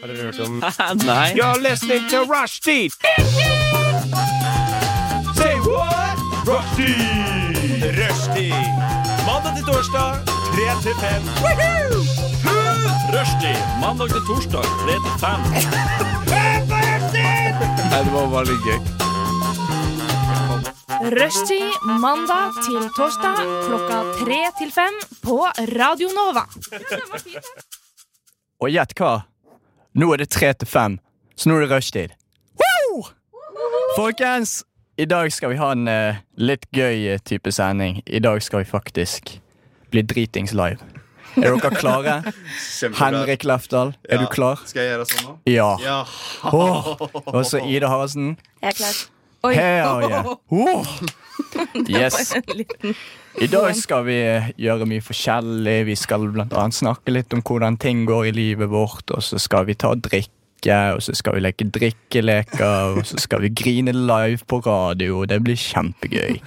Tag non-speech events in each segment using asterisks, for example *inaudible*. Har dere hørt om Nei. You're listening to Rushdie! Say what? Rushdie! Rushdie! Mandag til torsdag, 3 til 5. Rushdie, mandag til torsdag, 3 til 5. Nei, det var bare litt gøy. Rushtid mandag til torsdag klokka tre til fem på Radio Nova. Og gjett hva? Nå er det tre til fem, så nå er det rushtid. Woo! Folkens, i dag skal vi ha en eh, litt gøy eh, type sending. I dag skal vi faktisk bli dritings live. Er dere klare? Henrik Lefdal, er du klar? Skal jeg gjøre sånn nå? Ja. Ja. Åh, *laughs* Og så Ida Haraldsen. Jeg er klar. Hell yeah. Åh. Yes. I dag skal vi eh, gjøre mye forskjellig. Vi skal bl.a. snakke litt om hvordan ting går i livet vårt, og så skal vi ta og drikke, og så skal vi leke drikkeleker, og så skal vi grine live på radio. Det blir kjempegøy.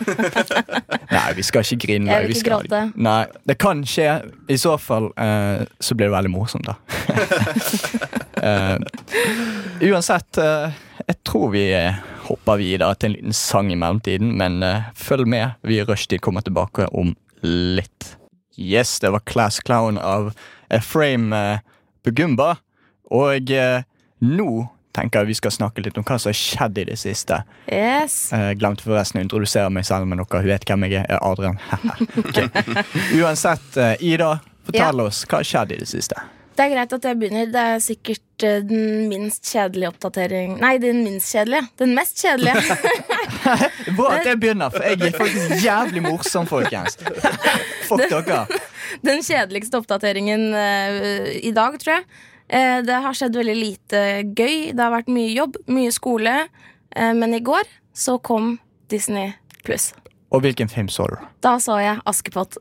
Nei, vi skal ikke grine Jeg live. vil vi ikke skal- gråte. Nei, det kan skje. I så fall eh, så blir det veldig morsomt, da. Eh, uansett, eh, jeg tror vi eh, hopper videre til en liten sang i mellomtiden, men eh, følg med. Vi i Rushtid kommer tilbake om litt. Yes, det var Class Clown av Frame Bugumba. Og eh, nå tenker jeg vi skal snakke litt om hva som har skjedd i det siste. Yes. Eh, glemte forresten å introdusere meg selv, men dere vet hvem jeg er. Jeg er Adrian. *laughs* Ok. Uansett, eh, Ida, fortell oss hva har skjedd i det siste. Det er greit at jeg begynner. Det er sikkert eh, den minst kjedelige oppdatering Nei, den minst kjedelige. Den mest kjedelige. Bra at jeg begynner, for jeg er faktisk jævlig morsom, folkens. *laughs* Fuck dere. den kjedeligste oppdateringen eh, i dag, tror jeg. Eh, det har skjedd veldig lite gøy. Det har vært mye jobb, mye skole. Eh, men i går så kom Disney pluss. Og hvilken film så du? Da så jeg Askepott.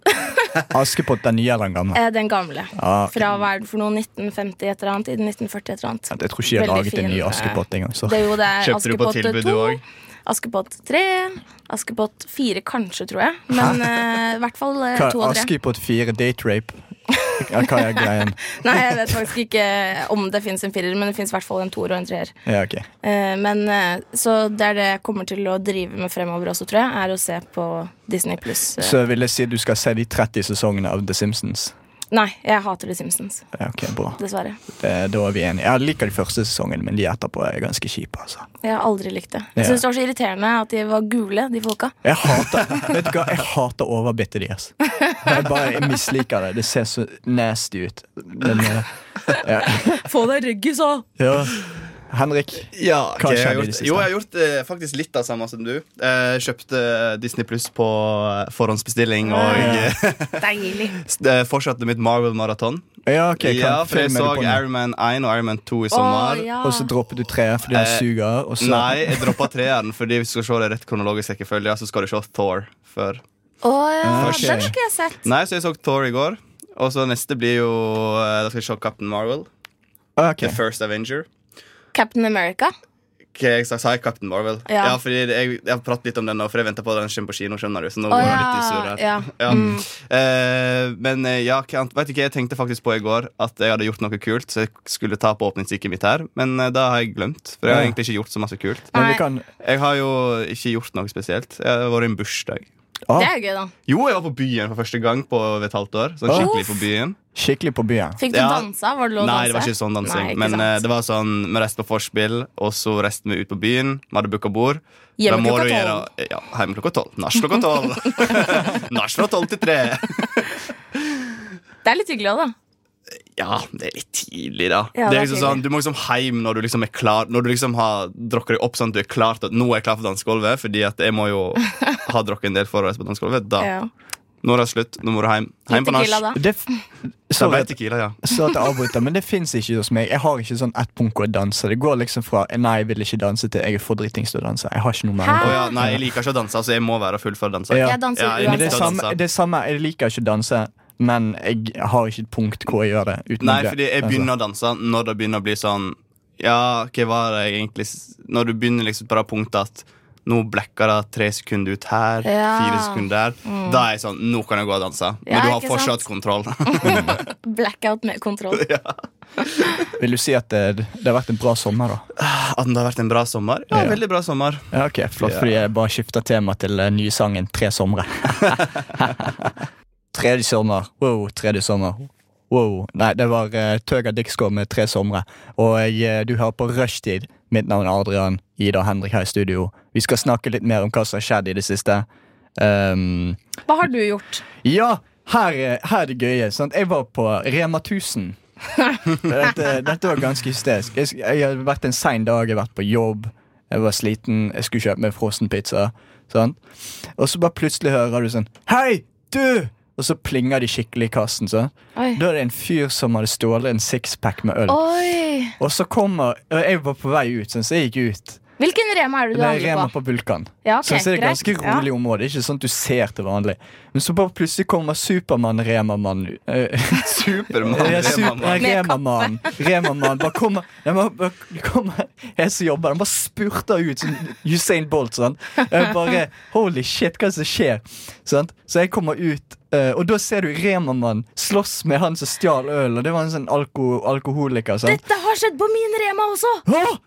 Askepott den nye eller den gamle? Eh, den gamle. Ah, ok. Fra hva er det for noe 1950 et eller annet? I 1940 et eller annet. Jeg tror ikke jeg har Veldig laget en fin, ny eh, Askepott engang. så. Det er jo det er Kjøpte du på tilbud, du Askepott 2, også? Askepott 3, Askepott 4 kanskje, tror jeg. Men eh, i hvert fall eh, Hva, to og tre. Askepott 4, Date Rape. Ja, Hva er greien? Nei, jeg vet faktisk ikke om det fins en firer, men det fins i hvert fall en toer og en treer. Ja, ok. Eh, men eh, Så det er det jeg kommer til å drive med fremover også, tror jeg, er å se på Disney pluss. eh. Så vil jeg si du skal se de 30 sesongene av The Simpsons. Nei, jeg hater The Simpsons, Ja, ok, bra. dessverre. Det, da er vi enige. Jeg liker de første sesongene, men de etterpå er ganske kjipe. altså. Jeg har aldri likt det. Ja. Jeg syns det var så irriterende at de var gule, de folka. Jeg hater vet du hva, jeg hater overbittet deres. Jeg bare jeg misliker det. Det ser så nasty ut. Men, eh, Få deg ryggis òg! ja. Henrik, Ja, ok, Hva skjedde jeg har i det gjort, siste? jo, jeg har gjort eh, faktisk litt av samme som du. Eh, kjøpte Disney Pluss på eh, forhåndsbestilling og eh, Deilig. s- eh, fortsatte mitt Marvel-maraton. ja, ok, hva Ja, for jeg film er så du på nå? Iron Man 1 og Iron Man 2 i Å sommer. ja. Og så dropper du treet fordi han Eh, suger. Og så, Nei, jeg droppa treeren, Fordi hvis du skal se det rett kronologisk rekkefølge, så skal du se Thor før. Å ja, Ok. den har ikke jeg sett. Nei, så jeg så Thor i går. Og så neste blir jo eh, Da skal jeg se Captain Marvel. Ah, Ok. The First Avenger. Captain America. Hva jeg sa, sa jeg Captain Marvel? Ja. Ja, fordi jeg, jeg har pratet litt om den nå, for jeg venter på at den kommer på kino. skjønner du Så nå Å går jeg litt i surr ja. her. ja. Mm. Ja. Eh, men eh, ja, hva annet- vet du hva, jeg tenkte faktisk på i går at jeg hadde gjort noe kult, så jeg skulle ta på åpningsdykket mitt her, men eh, da har jeg glemt. For jeg har Ja. egentlig ikke gjort så masse kult. Men vi Nei. kan Jeg har jo ikke gjort noe spesielt. Jeg har vært i en bursdag. ah, Det er gøy, da. Jo, jeg var på byen for første gang på over et halvt år. Sånn Åh. skikkelig på byen. Skikkelig på byen. Fikk du Ja. dansa? Var det lov å danse? Nei, det var ikke sånn dansing. Nei, ikke men sant. eh, det var sånn, vi reiste på vorspiel, og så reiste vi ut på byen. Vi hadde booka bord. Hjemme Da må klokka du tolv. gjøre- Ja, hjemme klokka tolv. Nach klokka tolv. *laughs* Nach fra tolv til tre. Det er litt hyggelig òg, da. Ja, det er litt tidlig, da. det Ja, er det er liksom sånn, Du må liksom hjem når du liksom er klar Når du liksom har drukket deg opp sånn at du er klar til at nå er jeg klar for dansegulvet. Fordi at jeg må jo ha drukket en del for å reise på dansegulvet. Da. Ja. Nå er det slutt. Nå må du hjem. Litt Hjem på tequila, nach. da. Det, f- Så sorry, ble at, tequila, ja. sorry at jeg avbryter, men det fins ikke hos meg. Jeg har ikke sånn ett punkt hvor jeg danser. Det går liksom fra eh, 'nei, jeg vil ikke danse' til 'jeg er for dritings til å danse'. Jeg har ikke noe Å mellom. Hæ? ja. Nei, jeg liker ikke å danse, så jeg må være full for å danse. Ja. Jeg danser Ja, jeg Men det, er liker å uansett. samme, danse. det er samme, jeg liker ikke å danse, men jeg har ikke et punkt hvor jeg gjør det. uten Nei, å dø. fordi jeg Altså, begynner å danse når det begynner å bli sånn Ja, hva var det egentlig s- Når du begynner liksom på det punktet at Nå blacker det tre sekunder ut her, Ja. Mm. fire sekunder der. Da er jeg sånn Nå kan jeg gå og danse. Men Ja, du har ikke fortsatt sant? kontroll. *laughs* *laughs* Blackout med kontroll. Vil du si at det, det har vært en bra sommer, da? At det har vært en bra sommer? Ja, Ja. veldig bra sommer. Ja, ok, Flott, Ja. fordi jeg bare skifter tema til eh, nysangen 'Tre somre'. *laughs* tredje sommer, wow, tredje sommer. Wow. Nei, det var uh, Tøga Dixgård med 'Tre somre'. Og jeg, eh, du hører på Rushtid. Mitt navn er Adrian. Ida og Henrik her i studio. Vi skal snakke litt mer om hva som har skjedd i det siste. Ehm, Hva har du gjort? ja, her, er- her er det gøye. Sant? Jeg var på Rema *laughs* 1000. dette, dette var ganske hysterisk. Jeg, sk- jeg hadde vært en sein dag, jeg har vært på jobb, jeg var sliten, jeg skulle kjøpe meg frossenpizza. Sant? Og så bare plutselig hører du sånn Hei, du! Og så plinger de skikkelig i kassen. Sånn. Oi. Da er det en fyr som hadde stjålet en sixpack med øl. Oi. Og så kommer og Jeg var på vei ut, sånn, så jeg gikk ut. Hvilken Rema er det du Nei, handler Rema på? på Vulkan. Ja, ok, så, så er det greit. ganske Ja. rolig område. Ikke sånn at du ser til vanlig. Men så bare plutselig kommer Supermann-Remamann uh, Supermann. Rema-mann. Med Remamann. Remamann bare kommer, den bare, bare kommer Jeg som jobber, den bare spurter ut som Usain Bolt. Sånn. Jeg bare Holy shit, hva er det som skjer? Sant? Så jeg kommer ut, eh, og da ser du Remamann slåss med han som stjal øl, og det var en sånn alko, alkoholiker. Sant? Dette har skjedd på min Rema også! Åh!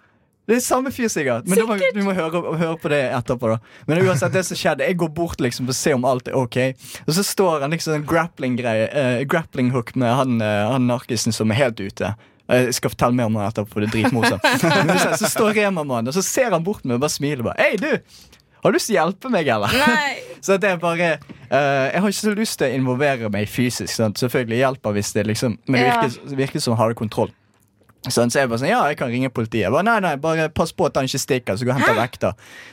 Det er samme fyr, sikkert. Men da må, du må høre, høre på det etterpå. da Men uansett det som skjedde, jeg går bort liksom for å se om alt er ok. Og så står han liksom en grappling-greie eh, Grappling hook med han, eh, han narkisen som er helt ute. Eh, Jeg skal fortelle mer om han etterpå, for det er *laughs* dritmorsomt. Men uansett, så står Rema-mannen, og så ser han bort meg og bare smiler. bare Hei, du! Har du lyst til å hjelpe meg, eller? Nei. *laughs* Så det er bare eh, Jeg har ikke så lyst til å involvere meg fysisk. Sant? Selvfølgelig hjelper hvis det liksom Men det Ja. virker, det virker som han har kontroll. Sånn, så jeg bare sånn, ja, jeg kan ringe politiet. Jeg bare, nei, nei, bare pass på at han ikke stikker. Så gå og henter vekta.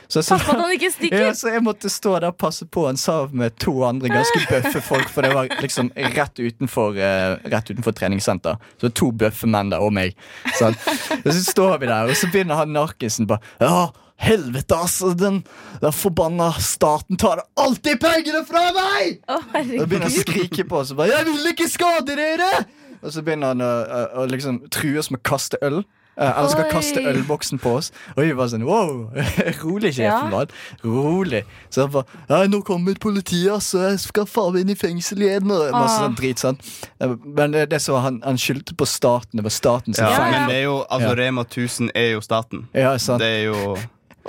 Så, så, Pass på at han ikke stikker. *laughs* ja, så jeg måtte stå der og passe på han sammen med to andre *laughs* ganske bøffe folk. For det var liksom rett utenfor, eh, rett utenfor treningssenter. Så to bøffe menn der og meg. Sånn. Og så står vi der, og så begynner han narkisen bare Ja, helvete, altså. Den, den forbanna staten tar alltid pengene fra meg! Å, Og herregud. begynner han å skrike på oss og bare 'Jeg vil ikke skade dere!' Og så begynner han å, å, å liksom true oss med å kaste øl. Eh, Eller skal Oi. kaste ølboksen på oss. Og vi bare sånn wow! *laughs* Rolig, Ja. sjefen. mann. Rolig. Så han bare «Nei, 'Nå kommer politiet, altså. Jeg skal faen meg inn i fengsel igjen.' Og masse Ah. sånn drit. Sånn. Eh, Men det, det så han, han skyldte på staten. Det var staten sin Ja, feil. Men det er jo, altså Ja. Rema 1000 er jo staten. Ja, sant. Det er *laughs* jo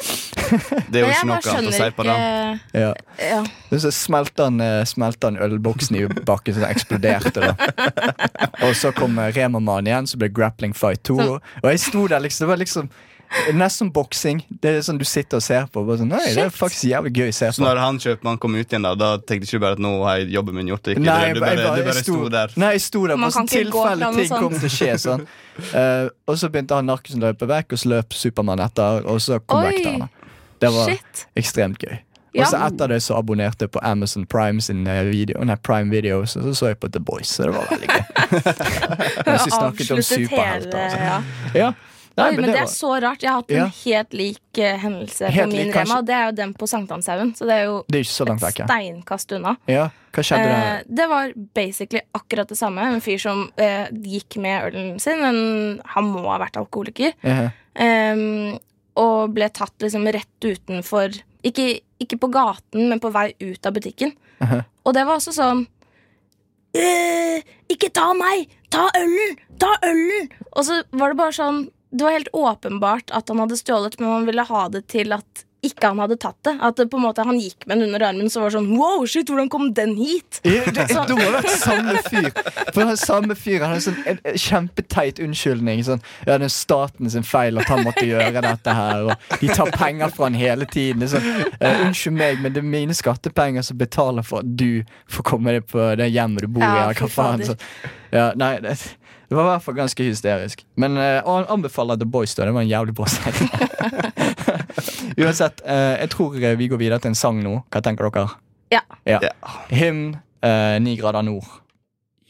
Det er jo ikke Men noe jeg bare annet å skjønner si på det. ikke eh, Ja. ja. Men Så smelte han, eh, smelte han ølboksen i bakken, så den eksploderte. da *laughs* Og så kom eh, Rema-mannen igjen, så ble det grappling fight 2. Og jeg sto der liksom, det var liksom Nesten som boksing. Det er sånn du sitter og ser på. Bare sånn, Nei, det er faktisk jævlig gøy å se Så på. når han kjøpmannen kom ut igjen, da, da tenkte du ikke bare at nå har jeg jobben min gjort det. Ikke? Nei, du, jeg, bare, jeg, bare- du bare jeg sto der. Nei, jeg sto der Man bare sånn kan ikke gå fra tilfelle noe ting sånt. kom til å skje. Sånn. Eh, og så begynte han narkisen å løpe vekk, og så løp Supermann etter, og så kom Oi. vekterne. Det var Shit. ekstremt gøy. Ja. Og så etter det så abonnerte jeg på Amazon Prime sin eh, video, nei, Prime Videos, og så så jeg på The Boys, så det var veldig *laughs* gøy. Mens vi snakket om Avsluttet superhelter. hele- Altså. ja. Ja. Nei, Oi, men det, det er var, så rart. Jeg har hatt en Ja. helt lik eh, hendelse Helt på min lik, kanskje. Rema. og Det er jo den på Sankthanshaugen. Så det er jo det er ikke så langt et vekk. ja. steinkast unna. Ja, hva skjedde der? Eh, det var basically akkurat det samme. En fyr som eh, gikk med ølen sin, men han må ha vært alkoholiker. Eh, Em, og ble tatt liksom rett utenfor ikke, ikke på gaten, men på vei ut av butikken. Mhm. Og det var også sånn «Eh, Ikke ta meg! Ta ølen! Ta ølen! Og så var det bare sånn Det var helt åpenbart at han hadde stjålet, men han ville ha det til at ikke han hadde tatt det. At det på en måte han gikk med den under armen, så var det sånn Wow, shit, hvordan kom den hit? *laughs* Ja, Det er da må det ha vært samme fyr. For han samme fyr han har sånn, en en kjempeteit unnskyldning. Sånn, ja, det er staten sin feil at han måtte gjøre dette her. Og de tar penger fra han hele tiden. Det er Sånn, eh, unnskyld meg, men det er mine skattepenger som betaler for at du får komme deg på det hjemmet du bor i. Ja, eller fy hva faen. fader. Sånn. Ja, nei, det, det var i hvert fall ganske hysterisk. Men eh, og han anbefaler The Boys, da. Det var en jævlig bra *laughs* serie. *laughs* Uansett, eh, jeg tror eh, vi går videre til en sang nå. Hva tenker dere? Ja. Ja. Hymn, eh, Ni grader nord.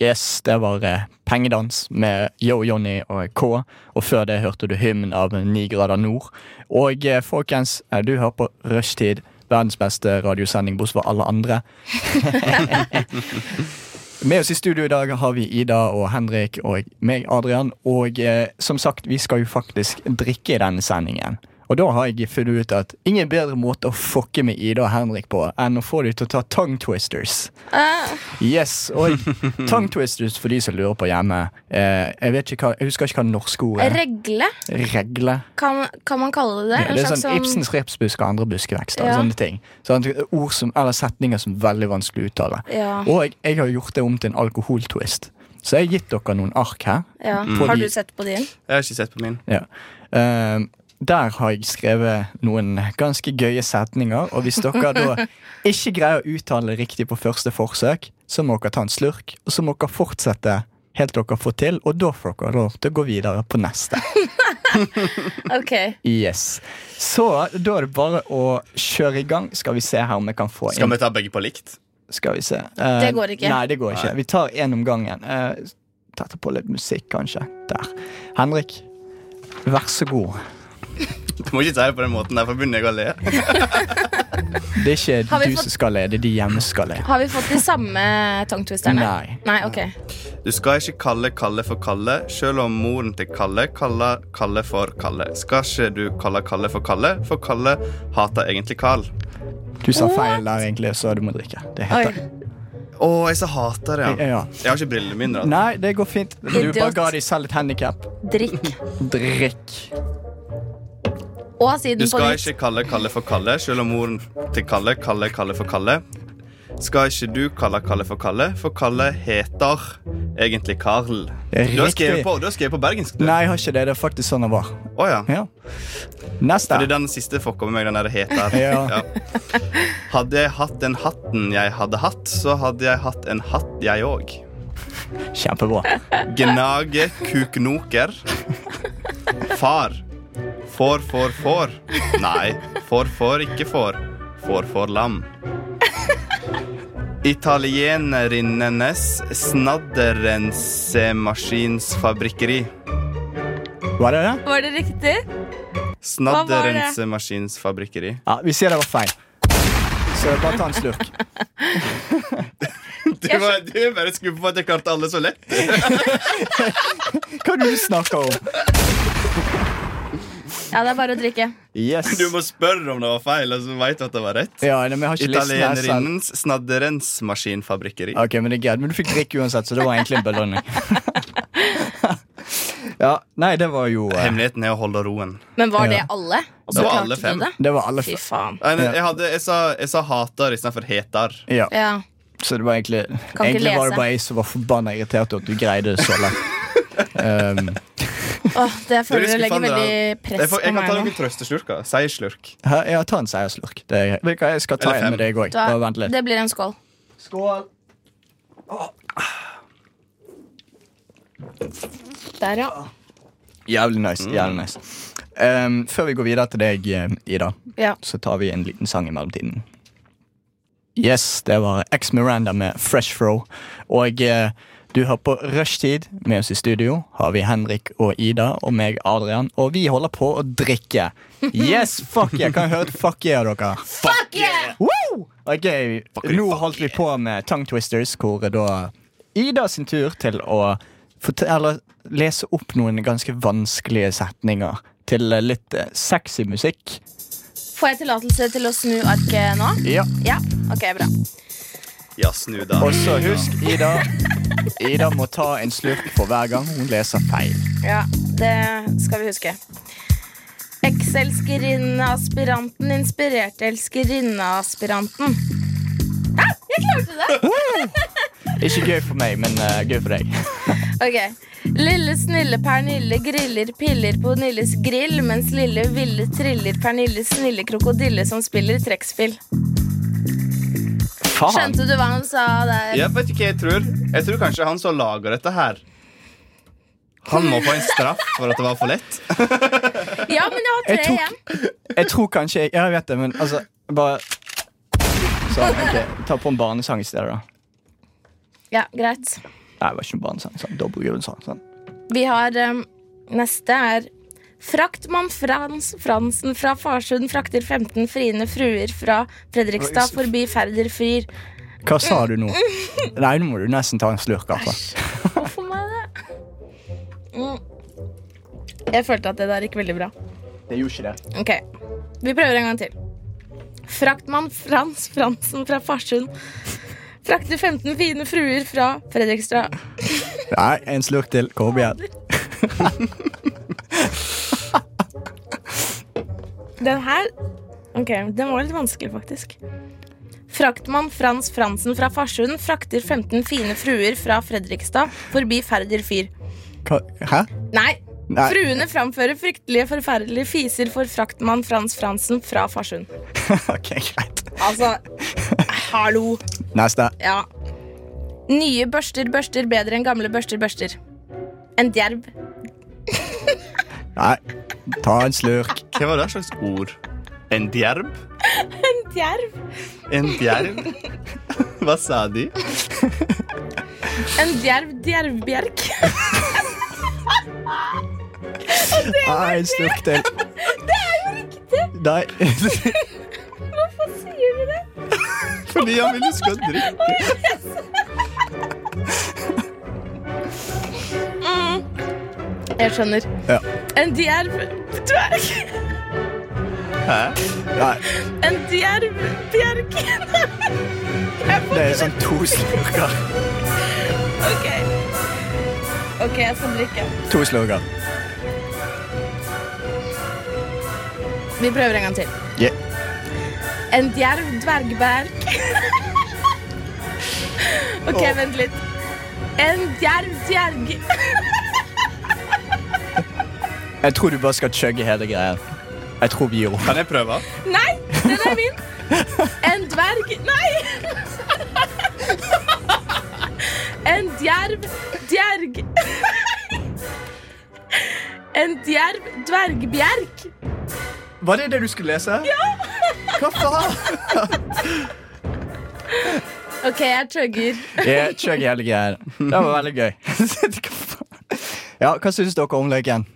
Yes, det var eh, Pengedans med Yo Johnny og K. Og før det hørte du hymn av Ni grader nord. Og eh, folkens, eh, du hører på Rushtid, verdens beste radiosending bortsett fra alle andre. Med oss i studio i dag har vi Ida og Henrik og meg, Adrian. Og eh, som sagt, vi skal jo faktisk drikke i denne sendingen. Og da har jeg funnet ut at ingen bedre måte å fucke med Ida og Henrik på enn å få dem til å ta tongue twisters. Eh, Yes, og tongue twisters for de som lurer på hjemme. Eh, jeg, vet ikke hva, jeg husker ikke hva det norske ordet er. regle, Regle. kan, kan man kalle det det? Ja, det er slags sånn Ibsens repsbusk og andre buskevekster. Ja. Sånne ting. Sånn, ord som, eller setninger som er veldig vanskelig å uttale. Ja, Og jeg, jeg har gjort det om til en alkoholtwist. Så jeg har gitt dere noen ark her. ja. På Har de- du sett på din? Jeg har ikke sett på min. Ja. Eh, der har jeg skrevet noen ganske gøye setninger, og hvis dere *laughs* da ikke greier å uttale det riktig på første forsøk, så må dere ta en slurk, og så må dere fortsette helt til dere får til, og da får dere lov til å gå videre på neste. Ok. Yes. Så da er det bare å kjøre i gang. Skal vi se her om jeg kan få Skal inn vi ta begge på likt? Skal vi se. Eh, Det går ikke. Nei, det går ikke. Nei. Vi tar én om gangen. Uh, Tette på litt musikk, kanskje. Der. Henrik, vær så god. Du må ikke si det på den måten der, for begynner jeg å le. Det er ikke Har vi du fått- som skal le, det er de hjemme som skal le. Har vi fått de samme tangtvisterne? Nei. Nei, ok. Du skal ikke kalle Kalle for Kalle, selv om moren til Kalle kaller Kalle for Kalle. Skal ikke du kalle Kalle for Kalle, for Kalle hater egentlig Karl. Du sa What? feil der, egentlig, så du må drikke. Det Oi. heter Å, jeg så hater det, ja. ja. Jeg har ikke brillene mine, da. Nei, det går fint. Du Idiot. bare ga deg selv et handikap. Drikk. Drikk. Og siden Du på skal nytt. ikke kalle Kalle for Kalle, selv om moren til Kalle kaller Kalle for Kalle. Skal ikke du kalle Kalle for Kalle, for Kalle heter egentlig Karl. Du har skrevet Riktig. på, du har skrevet på bergensk, du. Nei, jeg har ikke det. Det er faktisk sånn det var. Å ja. Ja. Neste. Fordi den siste fucka med meg, den der *laughs* heter Ja. Hadde jeg hatt den hatten jeg hadde hatt, så hadde jeg hatt en hatt, jeg òg. Kjempebra. Gnage kuknoker. Far. Får, får, får. Nei, får, får, ikke får. Får, får lam. Italienerinnenes snadderensemaskinsfabrikkeri. Var det det? Var det riktig? var det? Snadderensemaskinsfabrikkeri. Ja, vi sier det var feil. Så bare ta en slurk. Du, var- du er bare skuffa på at jeg klarte alle så lett. Hva er det du snakker om? Ja, det er bare å drikke. Yes. *laughs* Du må spørre om det var feil, og så veit du at det var rett. Ja, nei, men jeg har ikke listen her selv. Italienerinnens snadderensmaskinfabrikkeri. Ok, men det er greit, men du fikk drikke uansett, så det var egentlig en *laughs* belønning. ja, nei, det var jo eh, Hemmeligheten er å holde roen. Men var det Ja. alle? Det Og var så klarte alle du fem. det? Det var alle Fy f- faen. Nei, nei, Ja. Jeg, hadde, jeg, sa, jeg sa hater istedenfor heter. Ja, Ja. så det var egentlig ikke Egentlig var lese. det bare jeg som var forbanna irritert over at du greide det så *laughs* lett. Um, Åh, Dere det føler jeg legger skuffende, da. veldig Jeg, press får, på jeg kan meg ta nå. noen trøsteslurker. Seierslurk. her, ja, ta en seierslurk. Det er greit. Vet du hva, Jeg skal ta Eller en fem. med deg òg. Da- Bare vent litt. Det blir en skål. Skål. Der, ja. Jævlig nice. jævlig nice um, Før vi går videre til deg, eh, Ida, ja. så tar vi en liten sang i mellomtiden. Yes, det var Ex Miranda med Fresh Throw. Og eh, du hører på Rushtid. Med oss i studio har vi Henrik og Ida og meg, Adrian. Og vi holder på å drikke. Yes, fuck yeah! Kan jeg høre et fuck yeah av dere? Fuck yeah! Woo! Ok, you, Nå fuck holdt vi på med Tongue Twisters, hvor da Ida sin tur til å fortelle, lese opp noen ganske vanskelige setninger til eh, litt eh, sexy musikk. Får jeg tillatelse til å snu arket nå? Ja. Ja. Ok, bra. Ja, snu da. Og så husk, Ida Ida må ta en slurk for hver gang hun leser feil. Ja, Det skal vi huske. Ekselskerinne-aspiranten inspirerte elskerinne-aspiranten. Hæ? Jeg klarte det! Ikke gøy for meg, men eh, gøy for deg. Ok. Lille snille Pernille griller piller på Nilles grill, mens lille ville triller Pernille snille krokodille som spiller trekkspill. Faen. Skjønte du hva han sa der? Jeg vet ikke hva jeg tror. Jeg tror kanskje han som lager dette her Han må få en straff for at det var for lett. Ja, men jeg har tre Jeg tok- igjen. Jeg tror kanskje jeg, ja, jeg vet det, men altså Bare Sånn, ok. Ta på en barnesang i stedet, da. Ja, greit. Nei, det var ikke en barnesang. Sånn. Dobbeltgulvsang. Sånn. Vi har um, Neste er Fraktmann Frans Fransen fra Farsund frakter 15 friende fruer fra Fredrikstad forbi Færder fyr. Hva sa du nå? Nei, nå må du nesten ta en slurk. Altså. Hvorfor må jeg det? Mm. Jeg følte at det der gikk veldig bra. Det gjorde ikke det. Ok, vi prøver en gang til. Fraktmann Frans Fransen fra Farsund frakter 15 fine fruer fra Fredrikstad. Nei, en slurk til. Kom igjen. Den her Ok, den var litt vanskelig, faktisk. Fraktmann Frans Fransen fra Farsund frakter 15 fine fruer fra Fredrikstad forbi Færder fyr. Hva? Hæ? *laughs* Nei! Nei. Fruene framfører fryktelige, forferdelige fiser for fraktmann Frans Fransen fra Farsund. ok, greit. Altså, hallo! Neste. Ja. Nye børster børster bedre enn gamle børster børster. En djerv. Nei, ta en slurk. Hva var det slags ord? En djerv? En djerv? En *laughs* djerv? Hva sa de? En djerv *laughs* djervbjerk. Nei, en slurk til. Det er jo riktig. Nei. *laughs* Hvorfor sier du det? Fordi han ville skal drikke. Jeg skjønner. Ja. En djerv dverg. Hæ? Nei, En djerv bjerk. *laughs* det er sånn to slurker. OK. OK, jeg skal drikke. To slurker. Vi prøver en gang til. Yeah. En djerv *laughs* dvergberg. OK, vent litt. En djerv djerg... *laughs* Jeg tror du bare skal chugge hele greia. Jeg tror vi gir opp. Kan jeg prøve? Nei, den er min. En dverg Nei! *laughs* En djerv djerg. *laughs* En djerv dvergbjerk. Var det det du skulle lese? Ja. Hva faen? OK, jeg chugger. Yeah, chugg hele greia. Det var veldig gøy. *laughs* Hva faen? Ja, hva syns dere om leken?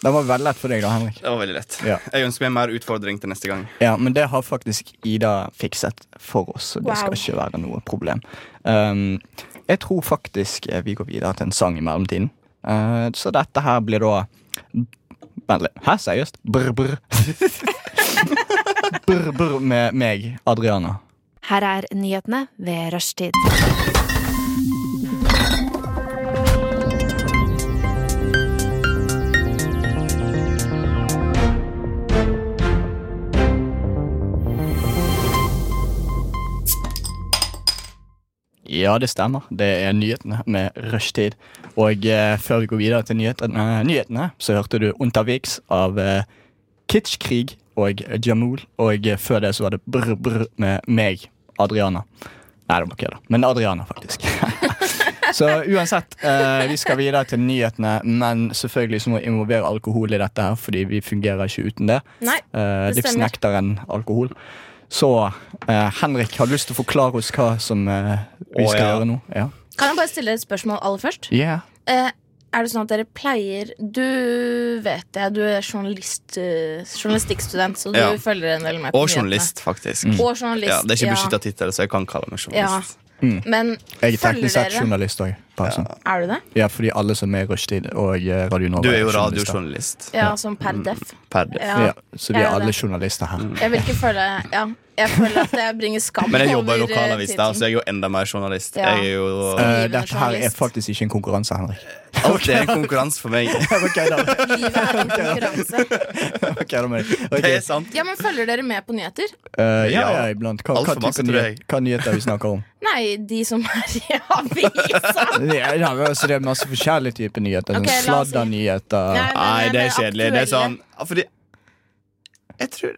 Den var veldig lett for deg, da, Henrik. Det var veldig lett. Ja. Jeg ønsker meg mer utfordring til neste gang. Ja, Men det har faktisk Ida fikset for oss, så det skal Wow. ikke være noe problem. Um, jeg tror faktisk eh, vi går videre til en sang i mellomtiden. Eh, så dette her blir da Vent litt. Hæ, seriøst? Brr, brr. brr, brr med meg, Adriana. Her er nyhetene ved rushtid. Ja, det stemmer. Det er nyhetene med rushtid. Og eh, før vi går videre til nyhetene, eh, nyhetene så hørte du Unterviks av eh, Kitschkrig og Jamul. Og eh, før det så var det Brr Brr med meg, Adriana. Nei, det var ikke jeg, da. Men Adriana, faktisk. *laughs* så uansett, eh, vi skal videre til nyhetene. Men selvfølgelig så må vi involvere alkohol i dette, her, fordi vi fungerer ikke uten det. Nei, Eh, det stemmer. Livsnekteren alkohol. Så eh, Henrik, har du lyst til å forklare oss hva som eh, vi Å, skal ja. gjøre nå? Ja. Kan jeg bare stille et spørsmål aller først? Yeah. Eh, er det sånn at dere pleier Du vet jeg, du er journalist, eh, journalistikkstudent, så du Ja. følger en del med på Og nyhetene. journalist, faktisk. Og journalist. Ja, det er ikke Mm. ja. beskytta tittel, så jeg kan kalle meg Ja. journalist. Men Mm. Jeg er følger teknisk sett dere journalist òg. Er du det? Ja, fordi alle som er i rushtid og eh, Radio Nova Du er jo journalister. radiojournalist. Ja, som per def. Per det. Ja. Mm. Ja, så vi jeg er er alle det. journalister Mm. her. Jeg vil ikke føle Ja, jeg føler at jeg bringer skam Men jeg jobber i over, eh, lokalavis der, tittelen. så jeg er jo enda mer journalist. Ja. Jeg er jo Eh, Skrivende dette her er journalist. faktisk ikke en konkurranse, *laughs* Henrik. Alt er en konkurranse for meg. Ok, da. *laughs* Livet er en konkurranse. *laughs* Ok, da må jeg- *laughs* ok. *laughs* Det er sant. Ja, men følger dere med på nyheter? Eh, ja, ja, Ja. iblant. Hva, Alt hva, for masse, type tror nyhet, jeg. hva nyheter vi snakker *laughs* om? Nei, de som er i *laughs* avisa. Ja, ja, men altså, det er masse forskjellige typer nyheter. Sånn Ok, la Okay, oss si- Sladdernyheter. Nei, Nei, men det er aktuelle. kjedelig. Det er sånn ja, Fordi Jeg tror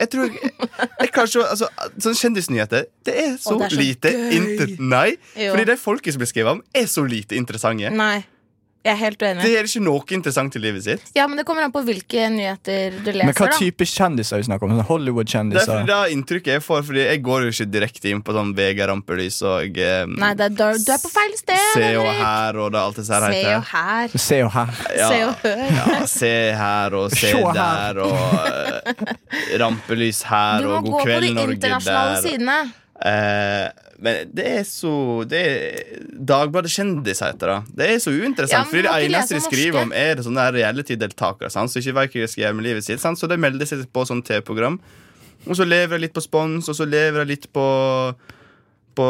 Jeg tror Jeg, jeg klarer ikke å altså, Sånn kjendisnyheter Det er så, Å, det er så lite gøy. inter... Nei. Jo. Mm. Fordi de folket som blir skrevet om, er så lite interessante. Nei, jeg er helt Det uenig. er ikke noe interessant i livet sitt. Ja, men Det kommer an på hvilke nyheter du Men hva leser. da type kjendiser vi snakker om? Sånn Det er fordi Hollywood-kjendiser? det er inntrykket jeg får, Fordi jeg går jo ikke direkte inn på sånn VG rampelys og eh, Nei, det er, du er- du er på feil sted. Se og Henrik. her og det, alt det her. Se heter. og her. Se og her. Ja. Se og hør. Ja, se her og se Se her. der og eh, rampelys her Du må og gå God på kveld de Norge internasjonale der. sidene. Eh, men det er så det er, Dagbladet Kjendis heter det. Det er så Ja, men uinteressant, Fordi for må ikke det lese eneste de om skriver norske. om, er det sånne her reality-deltakere sant, som ikke vet hva de skal gjøre med livet sitt. Sant, så de melder seg på sånn TV-program, og så lever de litt på spons, og så lever de litt på på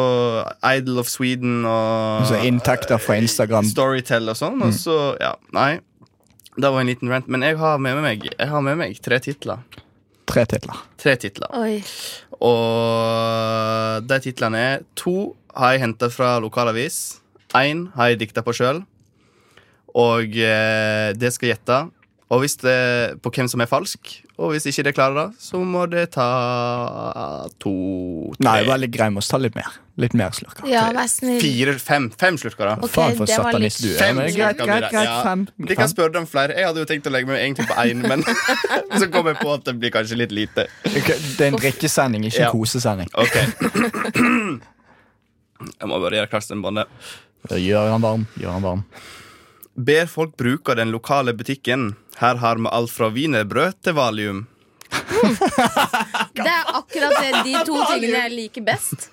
Idol of Sweden og Så inntekter fra Instagram. Mm. Storytell og sånn. Og så, ja, nei Det var en liten rant. Men jeg har med meg, jeg har med meg tre titler. Tre titler. Tre titler. Oi. Og de titlene er To har jeg henta fra lokalavis. Én har jeg dikta på sjøl. Og eh, det skal jeg gjette. Og hvis det, på hvem som er falsk. Og hvis ikke det klarer det, så må det ta to, tre, Nei, veldig grei med å ta litt mer. Litt mer slurker. Ja, vær snill. fire, fem. Fem slurker, da. Ok, Faen for det var satanist du litt- er. Men Fem greit, stykker greit, blir det. greit, Ja. fem. De kan spørre deg om flere. Jeg hadde jo tenkt å legge meg egentlig på én, men *laughs* så kom jeg på at det blir kanskje litt lite. Ok, Det er en drikkesending, ikke Ja. en kosesending. Ok *clears throat* Jeg må bare gjøre klart stemmebåndet. Gjør han Eh, varm, gjør han varm. Ber folk bruke den lokale butikken. Her har vi alt fra wienerbrød til valium. Det er akkurat det, de *laughs* to tingene jeg liker best.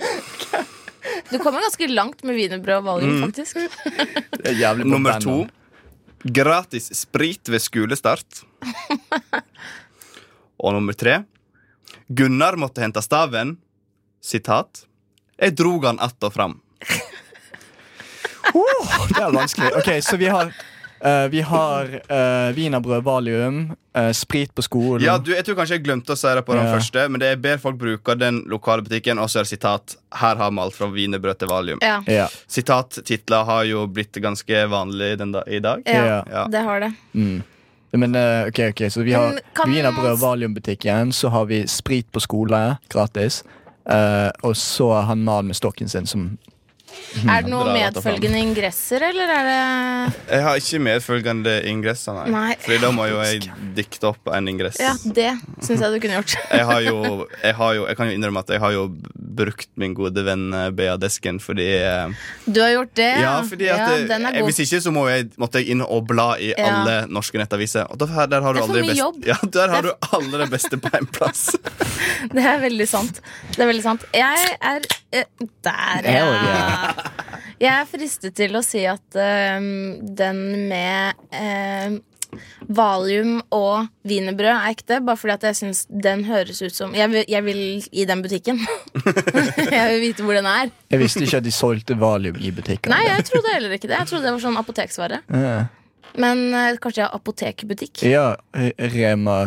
*laughs* Du kommer ganske langt med wienerbrød og valium, Mm. faktisk. Det er jævlig på Nummer bandet. to Gratis sprit ved *laughs* skolestart. Og nummer tre Gunnar måtte hente staven. Sitat. Jeg drog han att og fram. Mm. Åh, det er vanskelig. Ok, så vi har eh, vi har eh, wienerbrød, valium, eh, sprit på skolen. Ja, du, jeg tror kanskje jeg glemte å si det på den Ja. første, men det er ber folk bruke den lokale butikken, og så er det sitat 'Her har vi alt fra wienerbrød til valium'. Ja, Ja. Sitat-titler har jo blitt ganske vanlig den da, i dag. ja, Ja. det har det. Mm. Men eh, ok, ok, så vi har Men kan wienerbrød man og s- valiumbutikken, så har vi sprit på skole, gratis. eh, og så har han mannen med stokken sin som Er det Mm. noen Dra dette fram. medfølgende ingresser, eller er det Jeg har ikke medfølgende ingresser, nei. Nei. Fordi da må jo jeg dikte opp en ingress. Ja, det syns jeg du kunne gjort. Jeg, har jo, jeg, har jo, jeg kan jo innrømme at jeg har jo brukt min gode venn eh, Bea Desken, fordi eh, Du har gjort det? Ja, fordi at Ja, eh, den er eh, god. Hvis ikke så må jeg, måtte jeg inn og bla i Ja. alle norske nettaviser. Og der, der har du Det er for aldri mye best, jobb. Ja, der har Det du alle det beste på én plass. *laughs* Det er veldig sant. Det er veldig sant. Jeg er eh, Der, Hell ja. Jeg er fristet til å si at eh, den med eh, valium og wienerbrød er ekte, bare fordi at jeg syns den høres ut som jeg vil, jeg vil i den butikken. *laughs* jeg vil vite hvor den er. Jeg visste ikke at de solgte valium i butikken. Nei, jeg trodde heller ikke det. Jeg trodde det var sånn apoteksvare. Eh, Men eh, kanskje jeg har apotekbutikk? ja, eh, Rema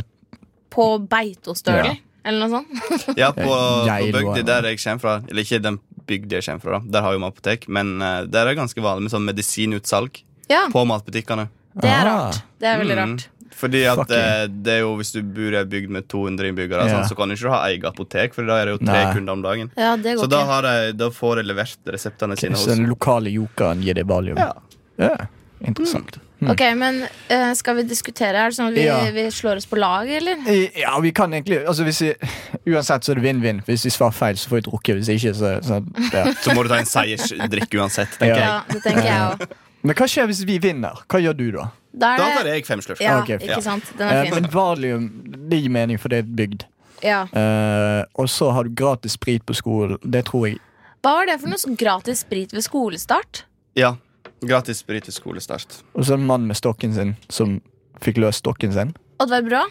På Beitostølen? Ja. Eller noe sånt? *laughs* Ja, på, på Jeg lå bygda her. der jeg kommer fra, eller ikke den bygda jeg kommer fra, da. der har jo vi apotek, men eh, der er det ganske vanlig med sånn medisinutsalg Ja, på matbutikkene. det er Ah. rart. Det er veldig Mm. rart. Fordi at Fucking. eh, det er jo Hvis du bor i ei bygd med 200 innbyggere, Ja. sånn, så kan du ikke ha eget apotek, for da er det jo tre Nei. kunder om dagen. Ja, det går Så da, ikke. har de, da får de levert reseptene sine Så den hos lokale jokeren gir deg valium. Ja. Ja, Mm. Interessant. Ok, men eh, skal vi diskutere? Er det sånn at vi, Ja. vi slår oss på lag, eller? I- Ja, vi kan egentlig altså hvis vi, *laughs* Uansett så er det vinn-vinn. Hvis vi svarer feil, så får vi drukke. Hvis ikke, så, så ja. Så må du ta en seiersdrikk uansett, *laughs* tenker Ja. jeg. Ja, det tenker jeg òg. Men hva skjer hvis vi vinner? Hva gjør du da? Da Da er tar det jeg fem slurker. ja, Ok, fint. ikke sant? Den Eh, er fin. men valium det gir mening, for det er bygd. Ja. Eh, og så har du gratis sprit på skolen. Det tror jeg Hva var det for noe sånn gratis sprit ved skolestart? Ja. Gratis sprit ved skolestart. Og så en mann med stokken sin som fikk løst stokken sin. Oddvar Brå,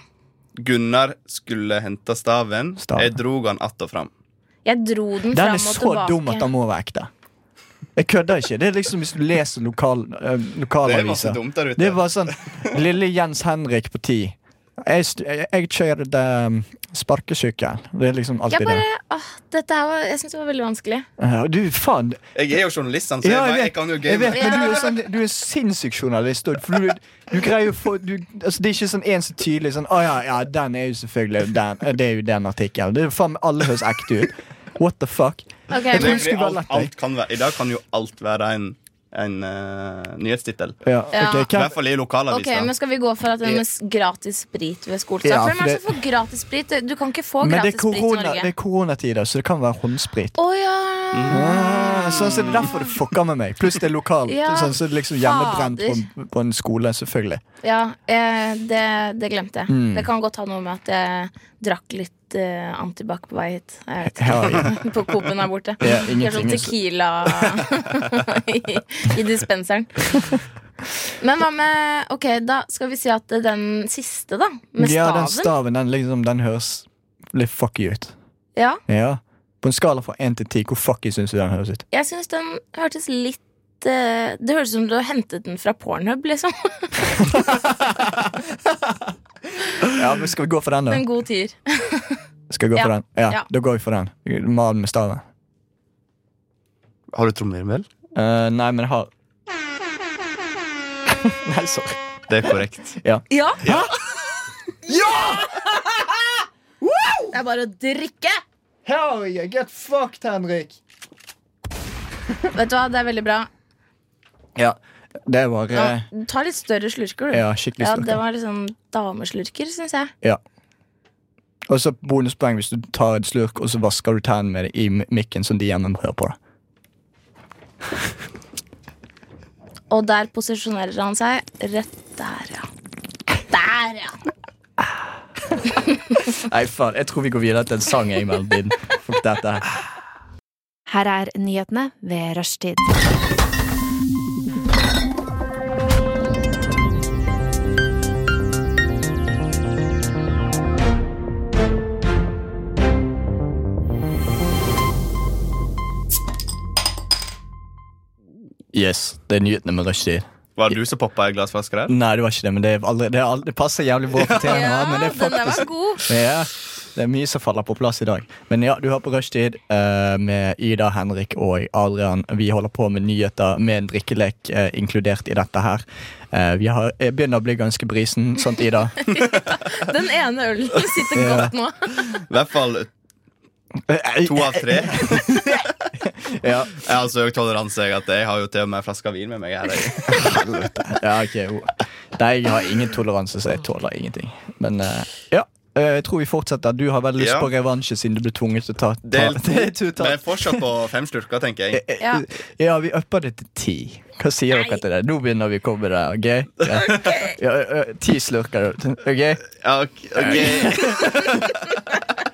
Gunnar skulle hente staven. Staven. Jeg drog han att og fram. jeg dro den Den er fram og så tilbake. dum at den må være ekte. Jeg kødder ikke. Det er liksom hvis du leser lokal, eh, Det er masse lokalaviser. dumt der ute. Det var sånn Lille Jens Henrik på ti. Jeg, st- jeg, jeg kjørte um, sparkesykkel. Det er liksom alltid Jeg bare, åh, dette her var, jeg syns det var veldig vanskelig. det. Eh, og Du, faen. Jeg er jo journalist, han, så Ja, jeg, jeg vet- jeg vet, kan jo jeg game. vet men du er, sånn, du er sinnssyk journalist. og- For du, du greier å få du, altså, Det er ikke sånn en så tydelig sånn Å ja, ja, den er jo selvfølgelig den. eh, Det er jo den artikkelen. Det er faen meg alle høres ekte ut. What the fuck? Jeg tror Ok, Det det men, blir skulle være alt, lett. jeg. alt kan være, I dag kan jo alt være en, en eh, nyhetstittel. Ja, Ja. ok, I hvem, hvert fall i ok, lokalavisa. men skal vi gå for at den med s- gratis sprit ved skolestart? Ja, for hvem for er det det- som får gratis sprit? Du kan ikke få men det gratis er, sprit i korona, det Norge. er koronatider, så det kan være håndsprit. Å ja! Ah, Sånn, så Det er derfor det fucker med meg. Pluss det er lokalt. Ja, sånn, så det er liksom Hjemmebrent på, en- på en skole, selvfølgelig. Ja, eh, det, det glemte jeg. Mm. Det kan godt ha noe med at jeg drakk litt eh, antibac på vei hit. Jeg vet ikke. Ja, *laughs* ja. På Coop-en her borte. Ja, Det er sånn ingenting. tequila *laughs* i, i dispenseren. Men hva med Ok, da skal vi si at det er den siste, da. Med Ja, den staven, staven. den, liksom, den høres litt fucky ut. Ja, Ja. På en skala fra én til ti, hvor fucky syns du den høres ut? jeg syns den hørtes litt eh, det høres ut som du har hentet den fra Pornhub. liksom *laughs* Ja, men Skal vi gå for den, da? En god tier. Skal vi gå Ja. for den? Ja, Ja. Da går vi for den. Mal med staven. Har du trommevirvel? Eh, nei, men jeg har Nei, sorry. Det er korrekt. Ja! *laughs* Det er bare å drikke! Hell yeah, get fucked, Henrik! Vet du hva, det er veldig bra. Ja, det var Ja, eh, ta litt større slurker, du. Ja, skikkelig Ja, stort. det var litt sånn dameslurker, syns jeg. Og så bonuspoeng hvis du tar et slurk og så vasker du tennene med det i mi- mikken, som de hjemme hører på. da. Og der posisjonerer han seg. Rett der, ja. Der, ja! Nei, faen, jeg tror vi går videre til en sang jeg, i mellomtiden. Fuck dette her. Her er nyhetene ved rushtid. Yes, det er nyhetene med rushtid. Var det du som poppa ei glassflaske der? Nei, det var ikke det, men det, er aldri, det, er aldri, det passer jævlig bra for temaet. men det er den der faktisk var god. Ja, det er mye som faller på plass i dag. Men ja, du hører på Rushtid eh, med Ida, Henrik og Adrian. Vi holder på med nyheter med en drikkelek eh, inkludert i dette her. Eh, vi har, jeg begynner å bli ganske brisen, sant Ida? *laughs* Den ene ølen sitter godt nå. I hvert fall to av *laughs* tre. Jeg ja, har så høy toleranse jeg, at jeg har jo til og med en flaske vin med meg. *laughs* her jeg. *laughs* ja, ok. jo. Nei, jeg har ingen toleranse, så jeg tåler ingenting. Men eh, ja, eh, jeg tror vi fortsetter. Du har veldig lyst Ja. på revansje siden du ble tvunget til å ta, ta, Del *laughs* til å ta Eh, Men jeg er fortsatt på fem slurker, tenker jeg. Ja. Ja, vi upper det til ti. Hva sier dere til det? Nå begynner vi å komme der, ok? Ja. *laughs* Ja, ø, ø, ti slurker, ok? *laughs* Ja, ok, ok.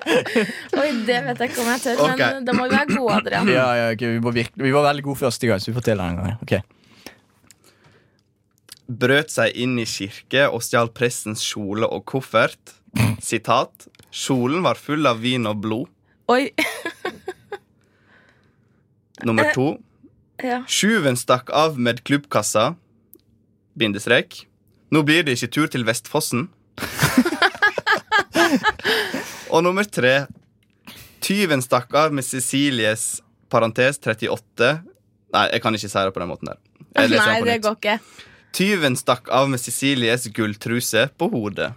Oi, det vet jeg ikke om jeg tør, Ok. men da må vi være gode, Adrian. Ja, ja, ok, vi, var virk- vi var veldig gode første gang, så vi forteller en gang. ok? Brøt seg inn i kirke og stjal prestens kjole og koffert. Sitat. Kjolen var full av vin og blod. Oi. Nummer to. Eh, Ja. Tjuven stakk av med klubbkassa. Bindestrek. Nå blir det ikke tur til *laughs* Vestfossen. Og nummer tre. Tyven stakk av med Cecilies parentes 38 Nei, jeg kan ikke si det på den måten der. Jeg leser Nei, den på det nytt. går ikke. Tyven stakk av med Cecilies gulltruse på hodet.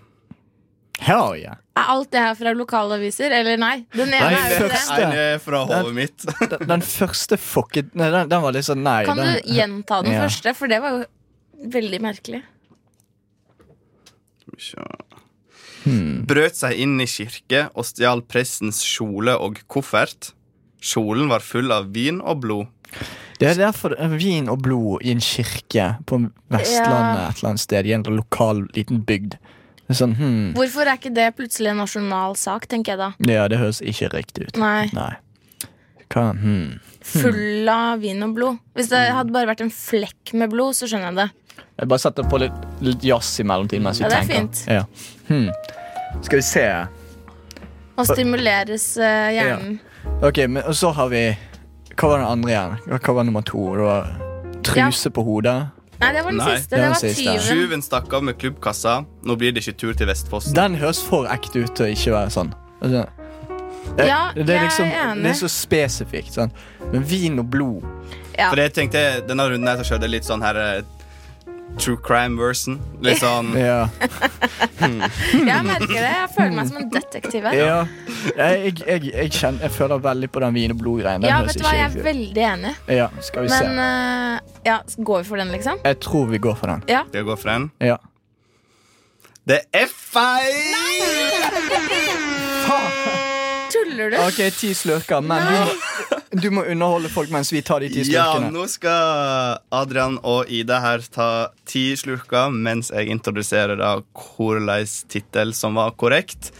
Hell yeah. Er alt det her fra lokalaviser? Eller nei? Den ene Nei, er jo ikke det. først- Nei, det er fra hodet mitt. Den, den første fucket Nei, den, den var litt sånn nei. Kan den, du gjenta den Ja. første? For det var jo veldig merkelig. Sjå. Brøt seg inn i kirke og stjal prestens kjole og koffert. Kjolen var full av vin og blod. Det er derfor det er vin og blod i en kirke på Vestlandet et eller annet sted, i en lokal liten bygd. Det er sånn, hmm, Hvorfor er ikke det plutselig en nasjonal sak, tenker jeg da. Ja, det høres ikke riktig ut. Nei. Nei. Hva, hmm. Full av vin og blod. Hvis Mm. det hadde bare vært en flekk med blod, så skjønner jeg det. Jeg bare setter på litt, litt jazz i mellomtiden mens vi Ja, det er tenker. fint. Ja. Hmm. Skal vi se. Og stimuleres eh, hjernen. Ok, men og så har vi Hva var den andre igjen? Hva- Hva var nummer to? Det var truse på hodet. Nei, det var den Nei, det siste. Det var var den siste. tyven. Tjuven stakk av med klubbkassa. Nå blir det ikke tur til Vestfossen. Den høres for ekte ut til å ikke være sånn. Altså, det- Ja, det, jeg er er liksom, enig. det er så spesifikt. Sant? Men vin og blod Ja. For jeg tenkte denne runden her så skjønte jeg litt sånn her eh, True crime-versen. Litt sånn Ja. Jeg merker det. Jeg føler meg som en detektiv her. ja. Jeg, jeg, jeg, kjenner, jeg føler veldig på den vin og blod-greien. Den Ja, høres vet du hva, ikke jeg er riktig ut. veldig enig. Ja, skal vi Men se. eh, ja, går vi for den, liksom? Jeg tror vi går for den. Skal jeg gå for den? Ja. Det er feil! Tuller du? Ah. Ok, ti slurker, men vi, Du må underholde folk mens vi tar de ti Ja, slurkene. nå skal Adrian og Ida her ta ti slurker mens jeg introduserer da hvilken tittel som var korrekt.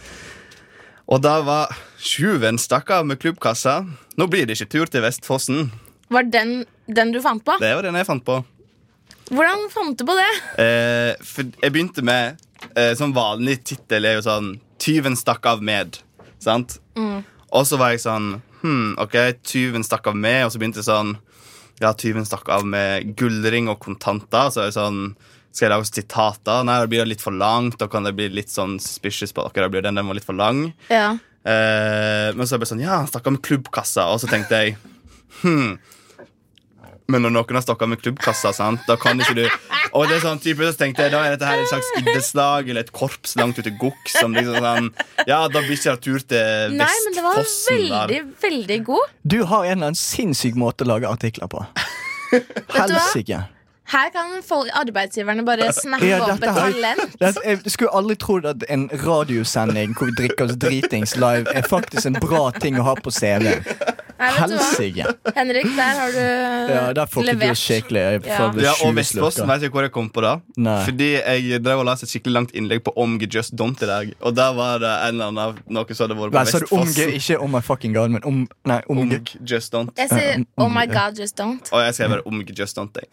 Og da var Sjuven stakk av med klubbkassa. Nå blir det ikke tur til Vestfossen. Var den den du fant på? Det var den jeg fant på. Hvordan fant du på det? Eh, for jeg begynte med eh, Sånn vanlig tittel er jo sånn 'Tyven stakk av med'. Sant? Og så var jeg sånn Hm, OK, tyven stakk av med, og så begynte jeg sånn Ja, tyven stakk av med gullring og kontanter. Så er det sånn Skal jeg lage sitater? Nei, det blir litt for langt. Da kan det bli litt sånn suspicious på dere. Da blir den, den var litt for lang. Ja. Eh, men så er jeg bare sånn, ja, han stakk av med klubbkassa Og så tenkte jeg, hmm Men når noen har stakk av med klubbkassa sant, Da kan ikke du Og det er sånn type, så tenkte jeg, da er dette her et slags iddeslag Eller et korps langt ute i gokk Som liksom sånn, ja, da blir ikke det tur til Nei, men det var Vestfossen der. veldig, veldig god. Du har en eller annen sinnssyk måte å lage artikler på. du hva? Helsike. Her kan folk, arbeidsgiverne bare snappe Ja, opp dette et har- talent. Det- Jeg skulle aldri trodd at en radiosending hvor vi drikker oss dritings live, er faktisk en bra ting å ha på CV. Nei, vet du hva? Helsike. Henrik, der har du Ja, der får ikke du levert. skikkelig jeg får Ja. vel ja, og sju Vestfossen slurker. vet ikke hvor jeg kom på da Nei. Fordi jeg drev og la et skikkelig langt innlegg på Omg Just Don't i dag Og der var det en eller annen Noe som hadde vært Nei, på sa du omge, Vestfossen ikke om my fucking god, men om Nei, omge. Omg Just Don't Jeg sier Um, oh um, my ja. god, just don't. Og jeg skrev bare Omg Just Don't *laughs* jeg.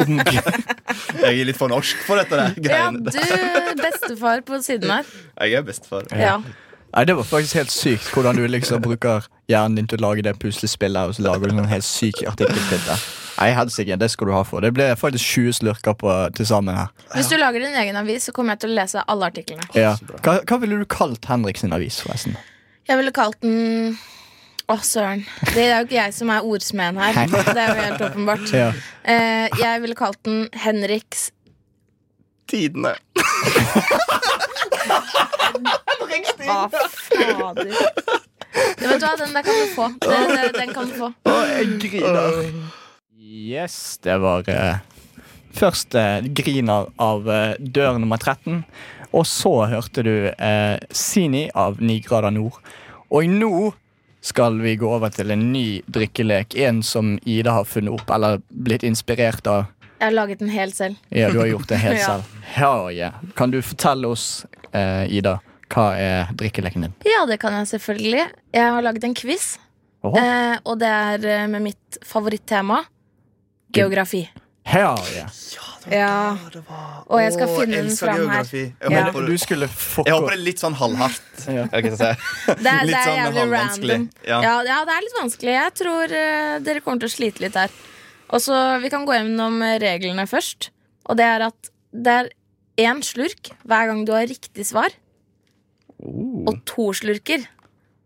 omge. Jeg er litt for norsk for dette der Ja, greiene. du bestefar på siden her. Jeg er bestefar. Ja. Nei, Det var faktisk helt sykt hvordan du *laughs* liksom bruker hjernen din til å lage det puslespillet. Og så lager du en helt syk artikkeltittel. Nei, helsike, det skal du ha for. Det ble faktisk 20 slurker på, til sammen her. Hvis du lager din egen avis, så kommer jeg til å lese alle artiklene. Ja. Hva, hva ville du kalt Henrik sin avis, forresten? Jeg ville kalt den Å, søren. Det er jo ikke jeg som er ordsmeden her. Det er jo helt åpenbart. Ja. Eh, jeg ville kalt den Henriks Tidene. Å, Ah, fader. Du vet hva, den der kan du få. Den, den, den kan du få. Yes, det var eh, Først eh, Griner av eh, dør nummer 13. Og så hørte du eh, Sini av 9 grader nord. Og nå skal vi gå over til en ny drikkelek. En som Ida har funnet opp, eller blitt inspirert av. Jeg har laget den helt selv. Ja, du har gjort det helt Ja. selv. Ja, ja. Kan du fortelle oss, eh, Ida, hva er drikkeleken din? Ja, det kan jeg selvfølgelig. Jeg har laget en quiz, Åh, eh, og det er eh, med mitt favorittema. Geografi. ja, ja. Ja. Og jeg skal finne den fram her. Jeg, Ja. håper, Du skulle fucke jeg håper opp. det er litt sånn halvhardt. Ja. Er det ikke det jeg sier? Det er, Litt det er sånn jævlig halvvanskelig. random. Ja. Ja. Ja, det er litt vanskelig. Jeg tror eh, dere kommer til å slite litt her. Og så Vi kan gå gjennom eh, reglene først. Og det er at det er én slurk hver gang du har riktig svar. Oh. Og to slurker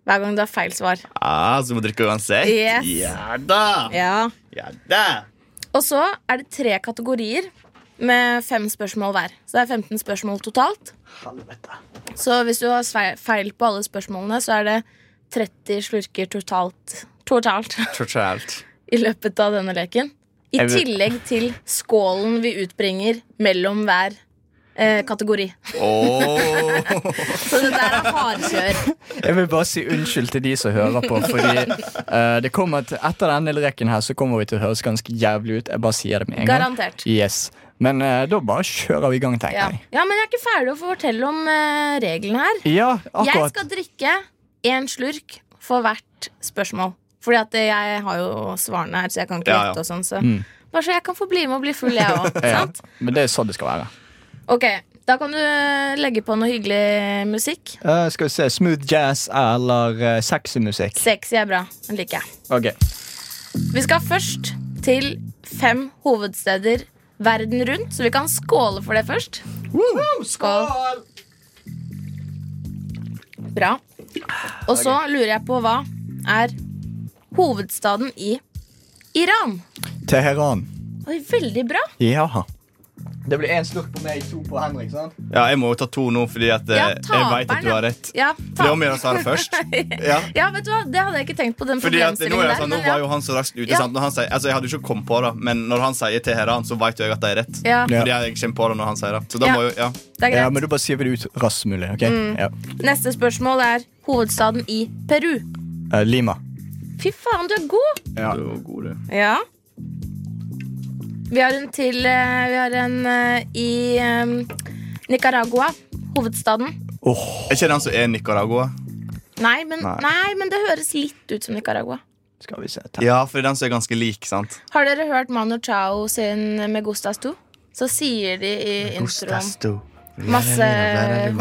hver gang du har feil svar. Ah, så du må drikke uansett? Yes. Ja da! Ja. Ja da! Og så er det tre kategorier med fem spørsmål hver. Så det er 15 spørsmål totalt. Så hvis du har svei- feil på alle spørsmålene, så er det 30 slurker totalt. Totalt *laughs* Totalt. i løpet av denne leken. I Jeg vil- tillegg til skålen vi utbringer mellom hver eh, kategori. Åh. *laughs* Så det der er hardkjør. Jeg vil bare si unnskyld til de som hører på, fordi *laughs* eh, det kommer til, etter denne leken her så kommer vi til å høres ganske jævlig ut. Jeg bare sier det med en Garantert. gang. Yes. Men eh, da bare kjører vi i gang, Ja. tenker jeg. ja, men jeg er ikke ferdig å få fortelle om eh, reglene her. Ja, Jeg akkurat. skal drikke én slurk for hvert spørsmål. Fordi at jeg har jo svarene her, så jeg kan ikke Ja, ja. gjette og sånn. Så. Bare så jeg kan få bli med og bli full, jeg òg. Ja, sant? men det er sånn det skal være. Ok, da kan du eh, legge på noe hyggelig musikk. Eh, skal vi se. Smooth jazz eller eh, sexy musikk. Sexy er bra. Den liker jeg. Ok. Vi skal først til fem hovedsteder verden rundt, så vi kan skåle for det først. skål! Bra. Og så lurer jeg på hva er hovedstaden i Iran? Teheran. Oi, veldig bra. Ja. Det blir én slurk på meg, to på Henrik. sant? Ja, jeg må jo ta to nå, fordi at eh, Ja, jeg veit at taperen, du ja. har rett. Ja, For det er om å taperen. gjøre å svare først. *laughs* Ja. ja, vet du hva? Det hadde jeg ikke tenkt på. den Fordi at nå, problemstillingen er der det sånn, nå men var jo han så raskt ute. Ja. Sant? Når han sier, altså, jeg hadde jo ikke kommet på det, men når han sier Teheran, så vet jo jeg at det er rett. ja. Ja. Ja, Fordi jeg kommer på det når han sier det. Så da Ja. må jo, ja. det er Ja, greit. men du bare sier det ut raskt som mulig. Mm. ok? Ja. Neste spørsmål er hovedstaden i Peru. Eh, Lima. Fy faen, du er god! Ja. Du var god, du. Ja. Vi har en til eh, Vi har en eh, i eh, Nicaragua, hovedstaden. Åh, Er ikke det han som er Nicaragua? Nei men, Nei. nei. men det høres litt ut som Nicaragua. skal vi se. Ja, for det er den som er ganske lik, sant? Har dere hørt Manu Chao sin Me Gustas Tu? Så sier de i introen Masse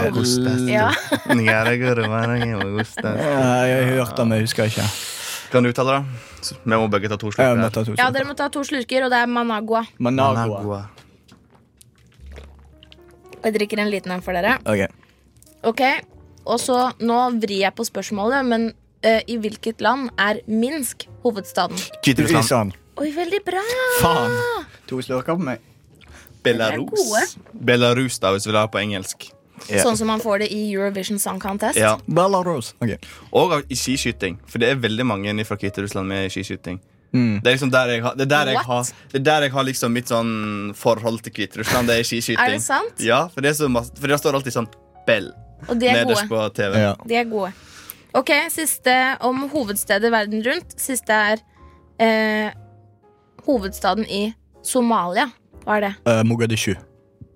Augustas. Ja. Nicaragua. Eh, Jeg har hørt det, men jeg husker ikke. Kan du uttale det? Så- Vi må begge ta to Jeg har slurker. møtt ja, dere må ta to slurker, og det er Managua. Managua. Managua. Jeg drikker en liten en for dere. Ok. Ok, og så Nå vrir jeg på spørsmålet, men eh, i hvilket land er Minsk hovedstaden? Hviterussland. Russland. Oi, veldig bra! Faen. Ah. To slurker på meg. Belarus. Belarus, da, hvis vi vil ha på engelsk. Sånn som man får det i Eurovision Song Contest. Ja. Belarus. Ok. Og av- i skiskyting. For det er veldig mange fra Hviterussland med i skiskyting. Mm. Det er liksom der jeg har, det er der jeg What? har, det er der jeg har liksom mitt sånn forhold til Hviterussland. Det er skiskyting. Er det sant? Ja, for det, er så masse, for det står alltid sånn Bell Og de er nederst gode. på TV. Ja. De er gode. Ok, siste om hovedstedet verden rundt. Siste er eh, hovedstaden i Somalia. Hva er det? Eh, Mogadishu.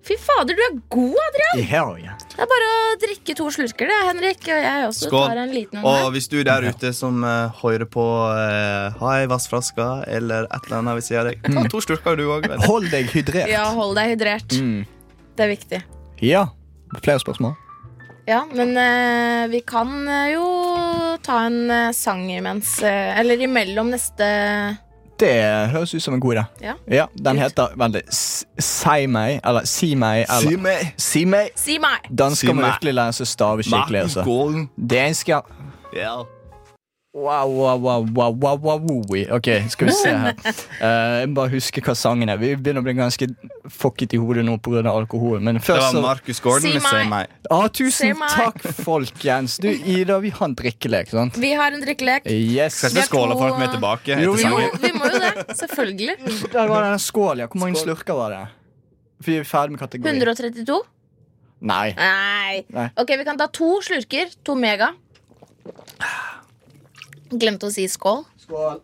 Fy fader, du er god, Adrian! I Herøya. Det er bare å drikke to slurker, det, Henrik. Og jeg også Skål. tar en liten en. Og her. hvis du der ute som eh, hører på eh, har ei vassflaske eller et eller annet ved siden av deg Ta to styrker, du òg. Mm. Hold deg hydrert. Ja, hold deg hydrert. Mm. Det er viktig. Ja. Flere spørsmål? Ja, men eh, vi kan eh, jo ta en eh, sang imens. eh, eller imellom neste Det høres ut som en god idé. Ja. den heter Vent litt. S- Si meg, eller Si meg, eller meg! Si meg. Si meg! Dansker Si må meg. virkelig lære seg å stave skikkelig. Altså. Golden. Dansker Ja. Wow, wow, wow, wow, wow, wow, wowie. Ok, skal vi se her. Eh, jeg må bare huske hva sangen er. Vi begynner å bli ganske fucket i hodet nå pga. alkohol. Men Det først var så Marcus Gordon Si med Say meg. meg. ah, Se Tusen meg. takk, folkens. Du, Ida, vi har en drikkelek, sant? Vi har en drikkelek. Yes. Skal Vi ikke har skåle for at to- vi er tilbake Jo, etter Jo, sangen? vi må jo det. Selvfølgelig. *laughs* Der var den skål, ja. Hvor mange slurker var det? Vi er ferdig med kategorien. 132? Nei. Nei. Nei. Ok, vi kan ta to slurker. To mega. Glemte å si skål. Skål.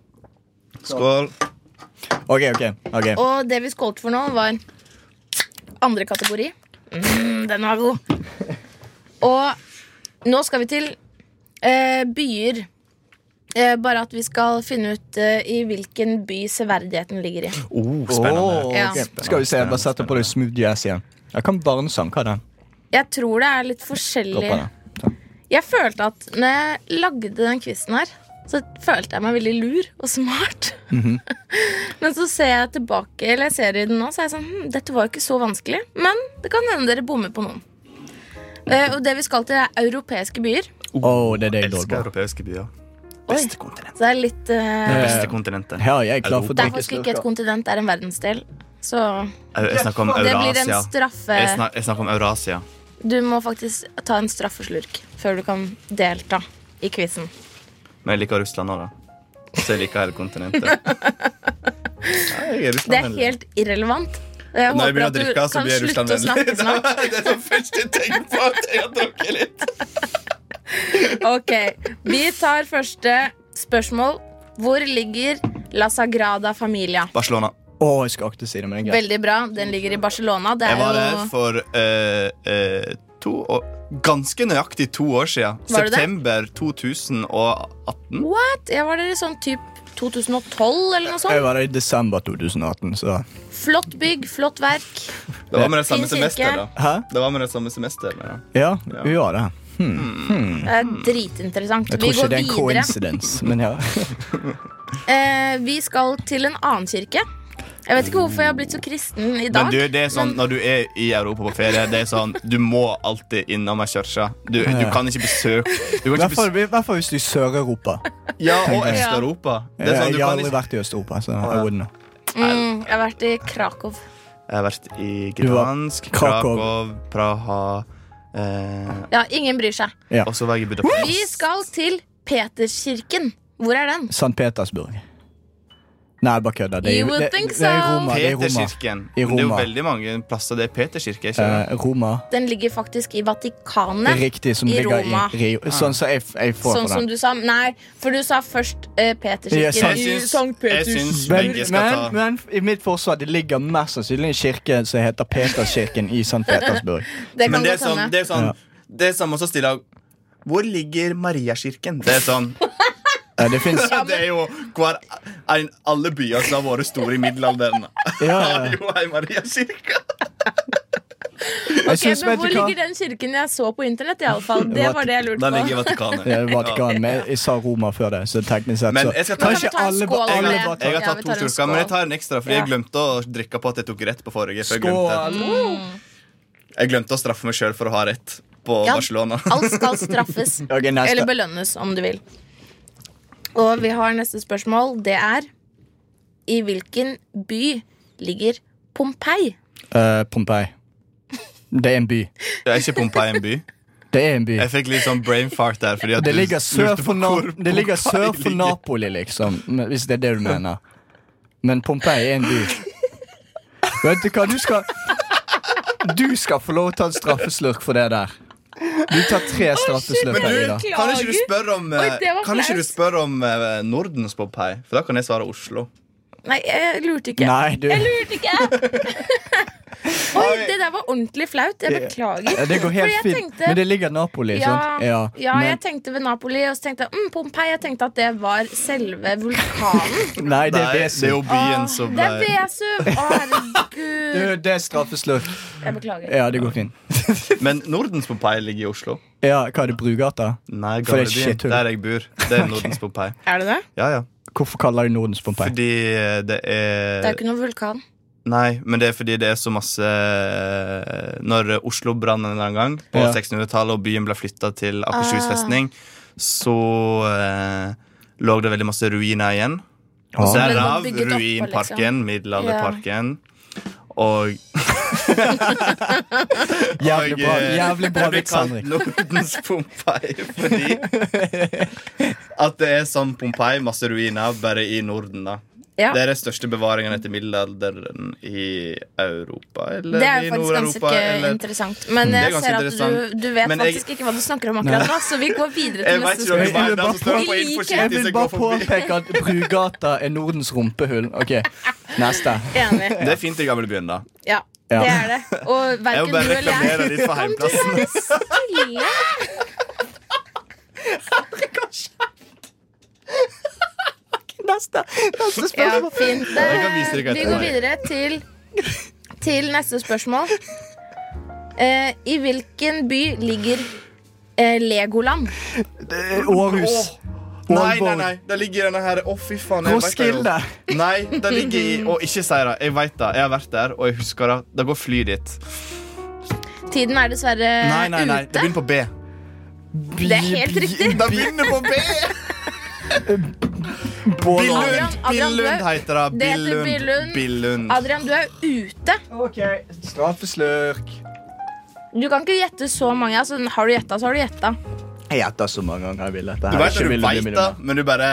Skål. Ok, ok. ok Og det vi skålte for nå, var andre kategori. Mm, den var god. Og nå skal vi til eh, byer. Eh, bare at vi skal finne ut eh, i hvilken by severdigheten ligger i. Oh, spennende. Åh, Ja. ok. Skal vi se, jeg bare setter på deg smooth jazz igjen. Jeg kan barnesang. Hva er det? Jeg tror det er litt Gå forskjellig på det. Jeg følte at når jeg lagde den quizen her, så følte jeg meg veldig lur og smart. Mhm. *laughs* Men så ser jeg tilbake, eller jeg ser i den nå, så er jeg sånn hm, Dette var jo ikke så vanskelig, men det kan hende dere bommer på noen. Eh, og det vi skal til, er europeiske byer. Åh, det er det jeg Elsker dårlig på. europeiske byer. Oi. Beste kontinent. Så det er litt eh, Beste kontinentet. Her er jeg klar for å Det er drikke faktisk ikke et slurker. kontinent, det er en verdensdel. Så Jeg, jeg snakker om det blir Eurasia. en Jeg straffe. snakker, jeg snakker om Eurasia. Du må faktisk ta en straffeslurk før du kan delta i quizen. Men jeg liker Russland òg, da. Så jeg liker hele *laughs* kontinentet. Nei, jeg er Det er Russland-vennlig. helt irrelevant. Jeg Når jeg håper begynner å at du drikke, så kan blir jeg slutte å snakke Russland-vennlig. *laughs* snart. Nei, Det er det første jeg tenker på. At jeg har drukket litt. Ok, Vi tar første spørsmål. Hvor ligger La Sagrada Familia? Barcelona. Åh, jeg skal akte si det, men det er greit. Veldig bra. Den ligger i Barcelona. Det Jeg er var der jo for eh, eh, to år Ganske nøyaktig to år siden. Var du det? September 2018. What? Jeg var der i sånn typ 2012 eller Jeg Eh, noe sånt. var der i desember 2018, så Flott bygg, flott verk. Det var med det samme Fin kirke. semester, da. Hæ? Det var med det samme semester, da. Ja, vi var det. Hmm. Det er dritinteressant. Jeg Vi tror ikke går det er en videre. coincidence, men *laughs* ja. Eh, vi skal til en annen kirke. Jeg vet ikke hvorfor jeg har blitt så kristen i dag. Men du, det er sånn, Når du er i Europa på ferie, Det er sånn, du må alltid innom ei kirke. Du, du kan ikke besøke du I kan hvert ikke fall, besøke, i hvert fall hvis du er i Sør-Europa. Ja, og Øst-Europa. Det er sånn, Jeg har du kan aldri liksom- ikke vært i Øst-Europa, så jeg ja. wouldn't know. Mm, jeg har vært i Krakow. Jeg har vært i Du var- Gdansk, Krakow. Krakow, Praha eh, Ja, ingen bryr seg. Ja. Og så var jeg i Vi Budapest. skal til Peterskirken. Hvor er den? St. Petersburg. Nei, jeg bare kødder. Det er, You jo- would det, think det er i so. Roma. Det er i Roma. Peterkirken. I Men Det er jo Roma. veldig mange plasser det er Peterkirke. ikke sant? Eh, Roma. Den ligger faktisk i Vatikanet. Riktig, som I ligger Roma. Ah. i Rio. Sånn som jeg, jeg får Sånn for som den. du sa. Nei, for du sa først eh, Ja, Peterkirken. sant. Jeg i syns- Sankt jeg Peters- syns Men, begge skal men, ta men i mitt forsvar, det ligger mest sannsynlig en kirke som heter Peterskirken i St. *laughs* Petersburg. Det kan Men det er godt sånn, hende. det er sånn Det er samme som å stille Hvor ligger Mariakirken? Det er *laughs* sånn Eh, Det fins *laughs* Det er jo hver, en, alle byer som har vært store i middelalderen. ja, *laughs* Har ja. jo ei Mariakirke. Jeg Ok, syns, men vet hvor du hva ligger den kirken jeg så på internett, iallfall? Det var det jeg lurte Den ligger i på. Vatikanet. Ja, Vatikanet. Men jeg sa Roma før det, så teknisk sett Men så jeg skal ta- Kanskje Men kan vi ta en alle, skål Jeg alle med? har, jeg har Ja, vi tatt tar to en slurker, men jeg tar en ekstra, fordi Ja. jeg glemte å drikke på at jeg tok rett på forrige. For jeg, Skål! glemte, jeg glemte å straffe meg sjøl for å ha rett på Ja. Barcelona. *laughs* Alt skal *laughs* straffes. Ok, neste. Eller belønnes, om du vil. Og vi har neste spørsmål. Det er I hvilken by ligger Pompeii? Eh, Pompeii. Det er en by. Det er ikke Pompeii en by. Det er en by. Jeg fikk litt sånn brain fart der. Fordi at Det du ligger sør lurte på for, Na hvor det ligger Pompeii sør for ligger. Napoli, liksom. men- Hvis det er det du mener. Men Pompeii er en by. Vet du hva, du skal Du skal få lov å ta en straffeslurk for det der. Du tar tre straffeslurk Men her, Ida. du, kan ikke du spørre om, eh, Oi, det var kan ikke du flaut. spørre om eh, Nordens Pompeii? For da kan jeg svare Oslo. Nei, jeg lurte ikke. Nei, du. Jeg lurte ikke! Oi, det der var ordentlig flaut. Jeg beklager. Ja, Det går helt For jeg fint. tenkte- Men det ligger Napoli, Ja, sant? ja, men- jeg tenkte ved Napoli, og så tenkte jeg mm, Pompeii. Jeg tenkte at det var selve *laughs* vulkanen. Nei, det er Nei, det er jo Vesu. byen Åh, som Ah, eh, det er ble Vesuv! Å, herregud. Det er straffeslurk. Jeg beklager. Ja, det går fint. Men Nordens Pompeii ligger i Oslo. Ja, hva er det Brugata? Nei, For det er Gamlebyen. skithull. Der jeg bor. *laughs* Det er Nordens Pompeii. Er det det? Ja, ja. Hvorfor kaller de Nordens Pompeii? Fordi eh, det Det er er jo ikke noen vulkan. Nei, men det er fordi det er så masse eh, Når Oslo brann en eller annen gang på Ja. 1600-tallet, og byen ble flytta til Akershus Ah. festning, så eh, lå det veldig masse ruiner igjen. Og Ja. derav Ble det bygget opp, liksom? ruinparken, middelalderparken. Og Jævlig bra, Og, eh, jævlig *laughs* bra det blir vits, kalt Henrik. Nordens Pompeii fordi *laughs* at det er som Pompeii, masse ruiner, bare i Norden, da. Ja. Det er den største bevaringen etter middelalderen i Europa eller Det er i jo faktisk ganske Nord-Europa. eller- Mm. interessant. Men Det er jeg ganske ser at du, interessant. du vet Men jeg- faktisk ikke hva du snakker om akkurat nå, så vi går videre Jeg til vet neste ikke om det Jeg var vil spørsmål. den som står bare- på Vi liker- innforsiktig, Jeg så vil går bare forbi. påpeke at Brugata er Nordens rumpehull. Ok, Neste. Enig. Det er fint i gamlebyen, da. Ja, Ja. det er det. Og Jeg verken vil du bare eller jeg reklamere litt for heimplassen. Stille. Neste, neste Ja, spørsmål. fint. Jeg kan vise dere vi etterpå. går videre til, til neste spørsmål. Eh, I hvilken by ligger eh, Legoland? Århus. Nei, nei, Aalborg. nei. Der ligger denne her. Å, fy faen. jeg vet det jo. Roskilde. Nei, det ligger i Å, ikke si det. Jeg vet det. Jeg har vært der, og jeg husker det. Det går fly dit. Tiden er dessverre Nei, nei, nei. Det Eh, ute. begynner på B. Det er helt riktig. Det begynner på B! Bålån. *laughs* Adrian, Billund, Adrian, du Billund er- heter det. det heter Billund. Billund. Billund. Adrian, du er ute. Ok, straffeslurk. Du kan ikke gjette så mange. Altså, har du gjetta, så har du gjetta. Jeg gjetter så mange ganger jeg vil dette. her. Du vet Ikke at du vil bli veit det, millionær. men du bare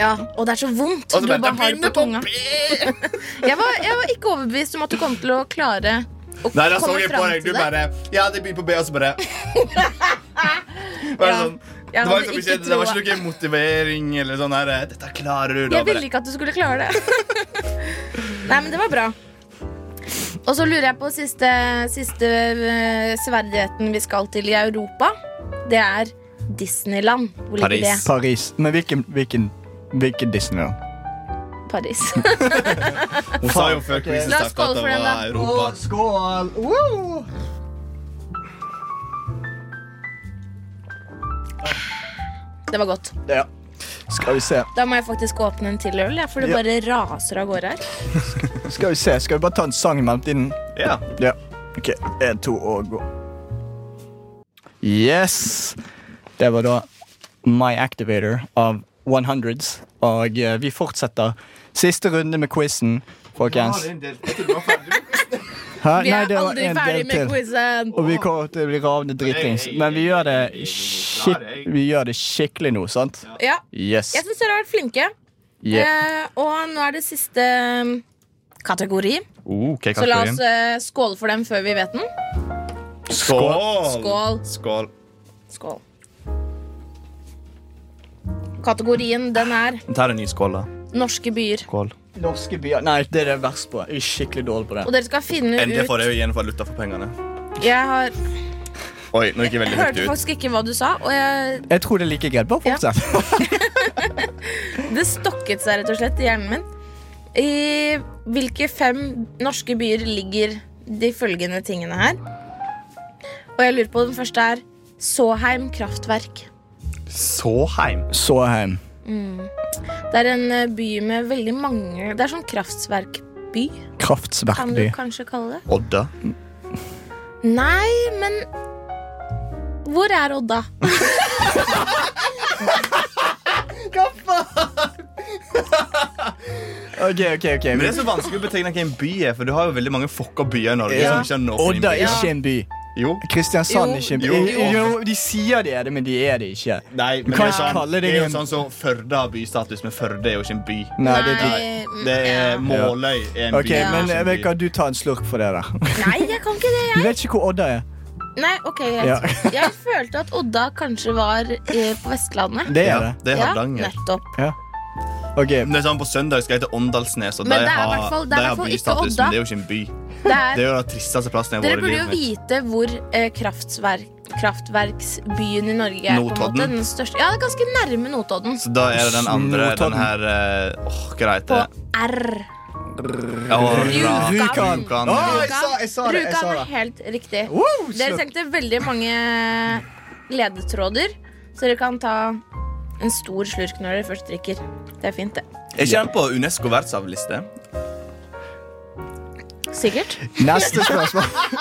Ja, og det er så vondt. Og så du bare, bare det har det Altså, begynner på på tunga. B! Jeg var, jeg var ikke overbevist om at du kom til å klare å Nei, da så komme jeg på fram deg. til Du det. bare Ja, det begynner på B, og så *laughs* bare Bare Ja, sånn. Det jeg var, hadde liksom ikke ikke, det var troa. ikke noe motivering eller sånn her Dette klarer du, da. Jeg ville ikke at du skulle klare det. *laughs* Nei, men det var bra. Og så lurer jeg på siste, siste eh, sverdigheten vi skal til i Europa. Det er Disneyland. Hvor ligger Paris. det? Paris. Men hvilken, hvilken, hvilken Disney? Paris. *laughs* Hun sa jo før quizen La oss startet at skåle for det den, var da. Europa. skål! Det var godt. Ja. Skal vi se. Da må jeg faktisk åpne en til øl, jeg, for det Ja. bare raser av gårde her. Skal vi se. Skal vi bare ta en sang i mellomtiden? Ja. Ja. Ok, én, to og gå. Yes! Det var da My Activator av 100s. Og eh, vi fortsetter siste runde med quizen, folkens. Hæ? Vi Nei, er det var aldri en ferdig del med til. quizen. Og vi kommer til å bli ravne dritings. Men vi gjør det, skik vi gjør det skikkelig nå, sant? Ja. Yes. Jeg syns dere har vært flinke. Yeah. Eh, og nå er det siste mm, kategori, *laughs* Oh, hva er så la kategorien? oss eh, skåle for den før vi vet den. Skål! Skål. Skål. Skål. Kategorien den er Ta en ny skål, da. norske byer. Skål. Norske byer Nei, det er det verst på. Jeg er skikkelig dårlig på det. Og dere skal finne Endelig ut får jeg jo igjen valuta for pengene. Jeg har, Oi, nå gikk jeg veldig høyt hørte ut. faktisk ikke hva du sa, og jeg, Jeg tror det er like greit. Bare Ja. fortsett. *laughs* det stokket seg rett og slett i hjernen min. I hvilke fem norske byer ligger de følgende tingene her? Og jeg lurer på den første er Såheim kraftverk. Såheim. Så eh, hjem. Det er en eh, by med veldig mange Det er sånn kraftverkby, kan du Kraftsverkby. kanskje kalle det. Odda. Nei, men Hvor er Odda? Ok, ok, ok. Men det er så vanskelig å betegne hva en by er, for du har jo veldig mange fucka byer i Norge. Ja. som ikke har noen Odda er innbyggere. ikke en by. Jo. Kristiansand Jo. er ikke en by. Jo. Jo. jo, de sier de er det, men de er det ikke. Nei, kan men det er ikke sånn- kalle det det er jo en- sånn som Førde har bystatus, men Førde er jo ikke en by. Nei, det er dritt. mm, Det ja. er Måløy er en Ok, by. men ikke en jeg vet by. hva, Du tar en slurk for det der. Nei, jeg kan ikke det. Du vet ikke hvor Odda er. Nei, ok, greit. Ja. jeg følte at Odda kanskje var eh, på Vestlandet. Det er Ja, det. det er ja, Hardanger. nettopp. Ok, Det er sånn På søndag skal jeg til Åndalsnes, og de Men det er i har, hvert fall- det er de i har hvert fall ikke bystatus. Odda. Men det er jo ikke en by. Det er, Det er jo den tristeste plassen jeg har vært dere i burde jo livet mitt. vite hvor eh, kraftverk, kraftverksbyen i Norge er. på en Notodden. måte Den største, ja, det er ganske nærme Notodden. Så da er det den andre, Notodden. den her eh, Åh, hva På heter det? R. Ja, Rjukan. Å, Rjukan. Rjukan. jeg sa- jeg sa det, jeg Rjukan sa er det. helt riktig. Wow, Dere slurk. trengte veldig mange ledetråder, så dere kan ta en stor slurk når dere først drikker. Det er fint, det. Er ikke den på Unesco verdensarvliste? Sikkert. Neste spørsmål.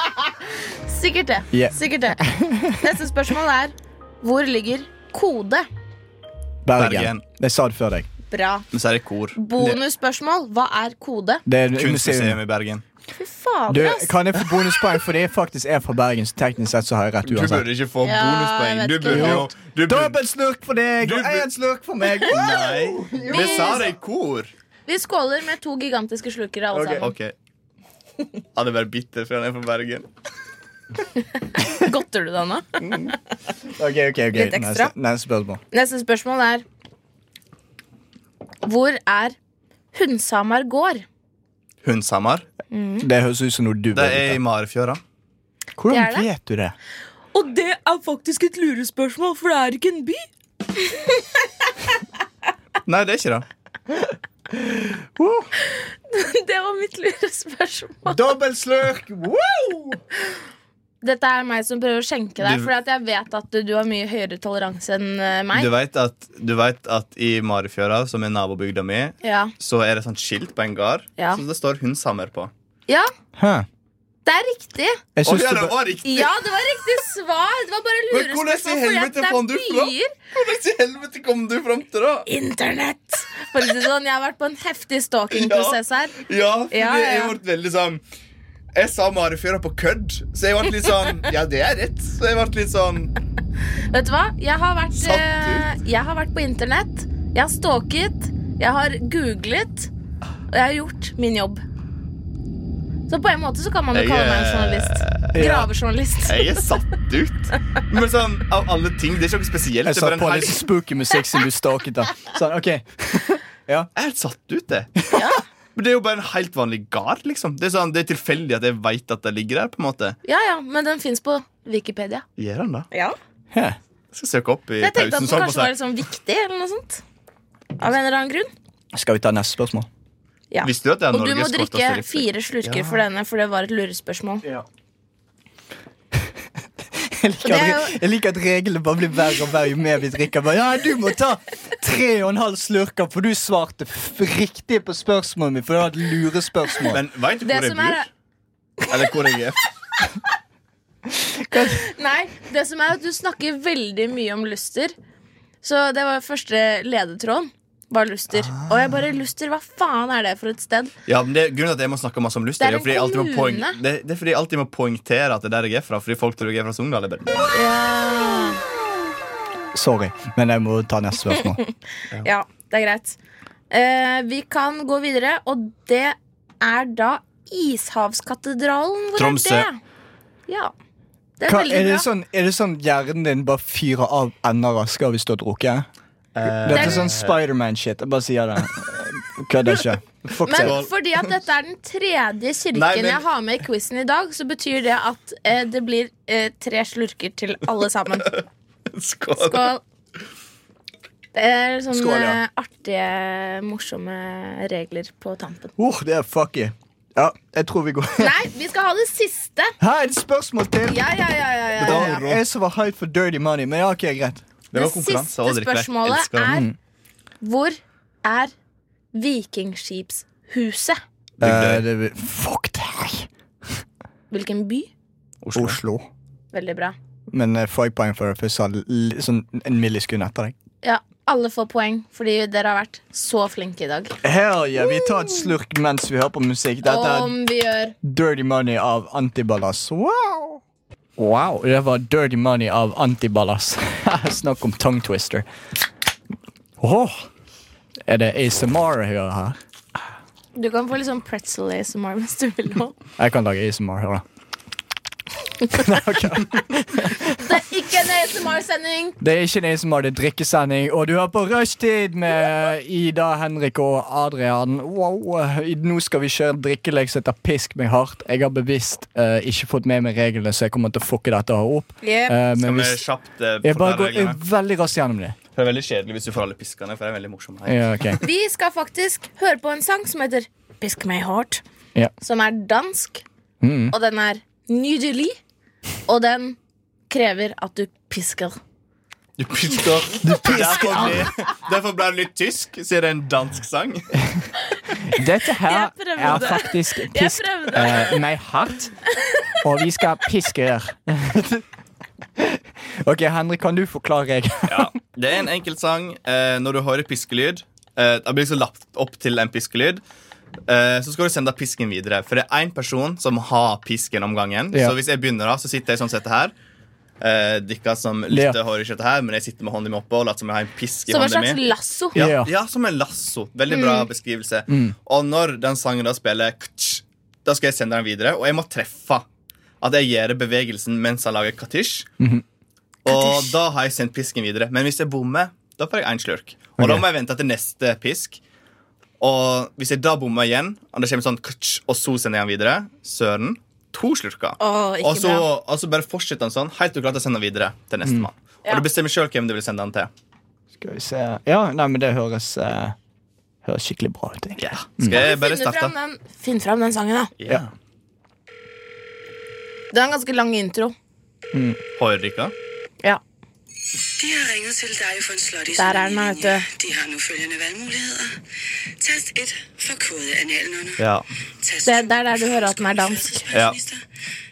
Sikkert det. Ja. Sikkert *laughs* det. Neste spørsmål er hvor ligger kode? Bergen. *laughs* Bergen. Jeg sa det før deg. Bra. Men så er det kor. Bonusspørsmål. Hva er kode? Det er et museum. Kunstmuseum i Bergen. Fy Du, fader, ass. kan jeg få bonuspoeng fordi jeg faktisk er fra Bergen? Så teknisk sett så har jeg rett Du uansett. burde ikke få Ja, bonuspoeng. jeg vet Du ikke. burde jo du burde, Dobbel slurk for deg Du og burde- én slurk for meg. Nei, vi sa det i kor. Vi skåler med to gigantiske slurkere, alle Ok. sammen. OK. Han er bare bitter fordi han er fra Bergen. *laughs* Godter du deg nå? Ok, ok, ok. Litt Neste, ekstra. neste spørsmål. Neste spørsmål er Hvor er Hundshamar gård? Hundshamar. Mm. Det høres ut som noe du Det burde er i Marefjøra. ta. Hvordan Det er det. vet du det? Og det er faktisk et lurespørsmål, for det er ikke en by. Nei, det er ikke det. *laughs* Det var mitt lurespørsmål. Dobbel slurk! Wow! Dette er meg som prøver å skjenke deg, Du- for jeg vet at du, du har mye høyere toleranse enn eh, meg. Du vet at, du vet at i Marefjøra, som er nabobygda mi, Ja. så er det sånn skilt på en gard Ja. som det står Hundshammer på. ja, Hæ. det er riktig. Jeg Å syns ja, det det var riktig! Ja, det var riktig svar. Det var bare Men hvordan i lurespørsmål. fordi at helvete fant du det fra? er byer. Hvordan i helvete kom du fram til det? Internett. For å si det sånn, Jeg har vært på en *laughs* heftig stalking-prosess her. Ja, for Ja, det- jeg ja. ble veldig sånn Jeg sa Marefjøra på kødd, så jeg ble litt sånn Ja, det er rett. Så jeg ble litt sånn Vet du hva? Jeg har vært, Satt ut. eh, jeg har vært på internett. Jeg har stalket. Jeg har googlet. Og jeg har gjort min jobb. Så på en måte så kan man jo Jeg, kalle meg en eh, journalist. Gravejournalist. Jeg er satt ut. Men sånn, av alle ting, det er ikke noe spesielt. Jeg Det er satt bare en på helg. litt spooky musikk som du staket av. Sånn, ok Jeg er helt satt ut, det. Men det er jo bare en helt vanlig gard, liksom. Det er, sånn, det er tilfeldig at jeg veit at det ligger der, på en måte. Ja, ja, men den fins på Wikipedia. Gjør han da? Ja. Hæ. Jeg skal søke opp i Jeg tenkte pausen. at den Sånn, på kanskje var seg. litt sånn viktig, eller noe sånt. Av en eller annen grunn. Skal vi ta neste spørsmål? Ja. Visste du at det er Og du må Norges drikke korteste rifle? fire slurker Ja. for denne, for det var et lurespørsmål. *laughs* Jeg liker, Det er at, jeg liker at reglene bare blir verre og verre jo mer vi drikker. Bare, ja, du må ta tre og en halv slurker, for du svarte f riktig på spørsmålet mitt. For det var et lurespørsmål. Men veit du Det hvor jeg som er, bor? Eller hvor jeg er? *laughs* Nei, det som er at du snakker veldig mye om luster. Så det var første ledetråden. Var luster. Og jeg bare Luster, hva faen er det for et sted? Ja, men det er Grunnen til at jeg må snakke masse om lyst, Det er er jo en fordi jeg alltid må poeng- kommune. det, det er fordi jeg alltid må poengtere at det er der jeg er fra. Fordi folk tror jeg er fra Sogndal. Jeg bare- *laughs* Sorry, men jeg må ta neste spørsmål. Ja, det er greit. Eh, vi kan gå videre, og det er da Ishavskatedralen. Hvor Tromsø. er det? Ja. Det er Hva, veldig er, det bra. sånn, er det sånn hjernen din bare fyrer av enda raskere hvis du har drukket? Dette er sånn Spiderman-shit. Jeg bare sier det. Eh, Kødder ikke. Fuck Men det. fordi at dette er den tredje kirken Nei, men- jeg har med i quizen i dag, så betyr det at eh, det blir eh, tre slurker til alle sammen. Skål. Skål. Det er sånne Skål, ja. eh, artige, morsomme regler på tampen. Uh, det er fucky. Ja, jeg tror vi går *laughs* Nei, vi skal ha det siste! Her er et spørsmål til! Ja, ja, ja. ja, ja, ja. Det var Eh, jeg som var hype for dirty money, men ja, ok, greit. Det var Det konkurranse å siste drikke. spørsmålet Elsker det. er hvor er Vikingskipshuset? Eh, det, vil- fuck deg! Hvilken by? Oslo. Oslo. Veldig bra. Men eh, får jeg poeng for det, for jeg sa l- sånn en millisekund etter deg. Ja, alle får poeng fordi dere har vært så flinke i dag. Hell yeah, vi tar et slurk mens vi hører på musikk. Dette er Om vi gjør Dirty Money av Antiballas. Wow! Wow, det var Dirty Money av Antiballas. *laughs* Snakk om tongue twister. Åh, Er det ASMR jeg hører her? Du kan få litt sånn pretzel ASMR hvis du vil. nå. Jeg kan lage ASMR. Hør da. *laughs* Det er ikke en ASMR-sending! Det er ikke en ASMR, det er drikkesending, og du hører på Rushtid med Ida, Henrik og Adrian. Wow, i- Nå skal vi kjøre drikkelek som heter Pisk meg hardt. Jeg har bevisst eh, ikke fått med meg reglene, så jeg kommer til å fucke dette her opp. Eh, men Skal vi hvis- kjapt eh, jeg bare forklare går jeg reglene? er veldig raskt gjennom det. Det er veldig kjedelig hvis du får alle piskene, for det er veldig morsomt. her. Ja, ok. Vi skal faktisk høre på en sang som heter Pisk meg hardt. Ja. Som er dansk, Mm. og den er nydelig. Og den krever at du pisker. Du pisker. *laughs* Derfor ble, derfor ble det litt tysk, siden det er en dansk sang. Dette her Jeg prøvde. er faktisk pisk prøvde. eh, meg hardt, og vi skal piske her. *laughs* ok, Henrik, kan du forklare reglene? Ja, Det er en enkelt sang. Eh, når du hører piskelyd eh, Det blir liksom lappet opp til en piskelyd. Eh, så skal du sende pisken videre. For det er én person som har pisken om gangen. Ja. Så hvis jeg begynner, da, så sitter jeg sånn sett her. Eh, Dere som lytter, hører ikke dette her, men jeg sitter med hånda mi oppe og later som jeg har en pisk i Som en hånda mi. slags lasso. Ja, Ja. ja. som en lasso. Veldig bra Mm. beskrivelse. Og når den sangen da spiller ktsch, Da skal jeg sende den videre, og jeg må treffe. At jeg gjør bevegelsen mens han lager katisj. Og Katisj. da har jeg sendt pisken videre. Men hvis jeg bommer, da får jeg én slurk. Og Ok. da må jeg vente til neste pisk. Og hvis jeg da bommer igjen, og det kommer sånn ktsch, og så sender jeg den videre, søren, to slurker. Å, ikke og, så, bra. Mm. og så bare fortsetter den sånn helt til du klarer å sende den videre til neste mann. Ja. Og du bestemmer sjøl hvem du vil sende den til. Skal vi se. Ja, nei, men det høres, eh, høres skikkelig bra ut. egentlig. Skal jeg bare Finn starte? fram, den, finn fram den sangen, da. Ja. Det er en ganske lang intro. Hører dere? Ja. De har ringet til dig for en slot i Der er den, sådan en vet linje. du. De har nu følgende valgmuligheder. Tast 1 for kode analerne. Ja. Tast Det er 2 der, der du for hører at den er dansk. førtidspensionister.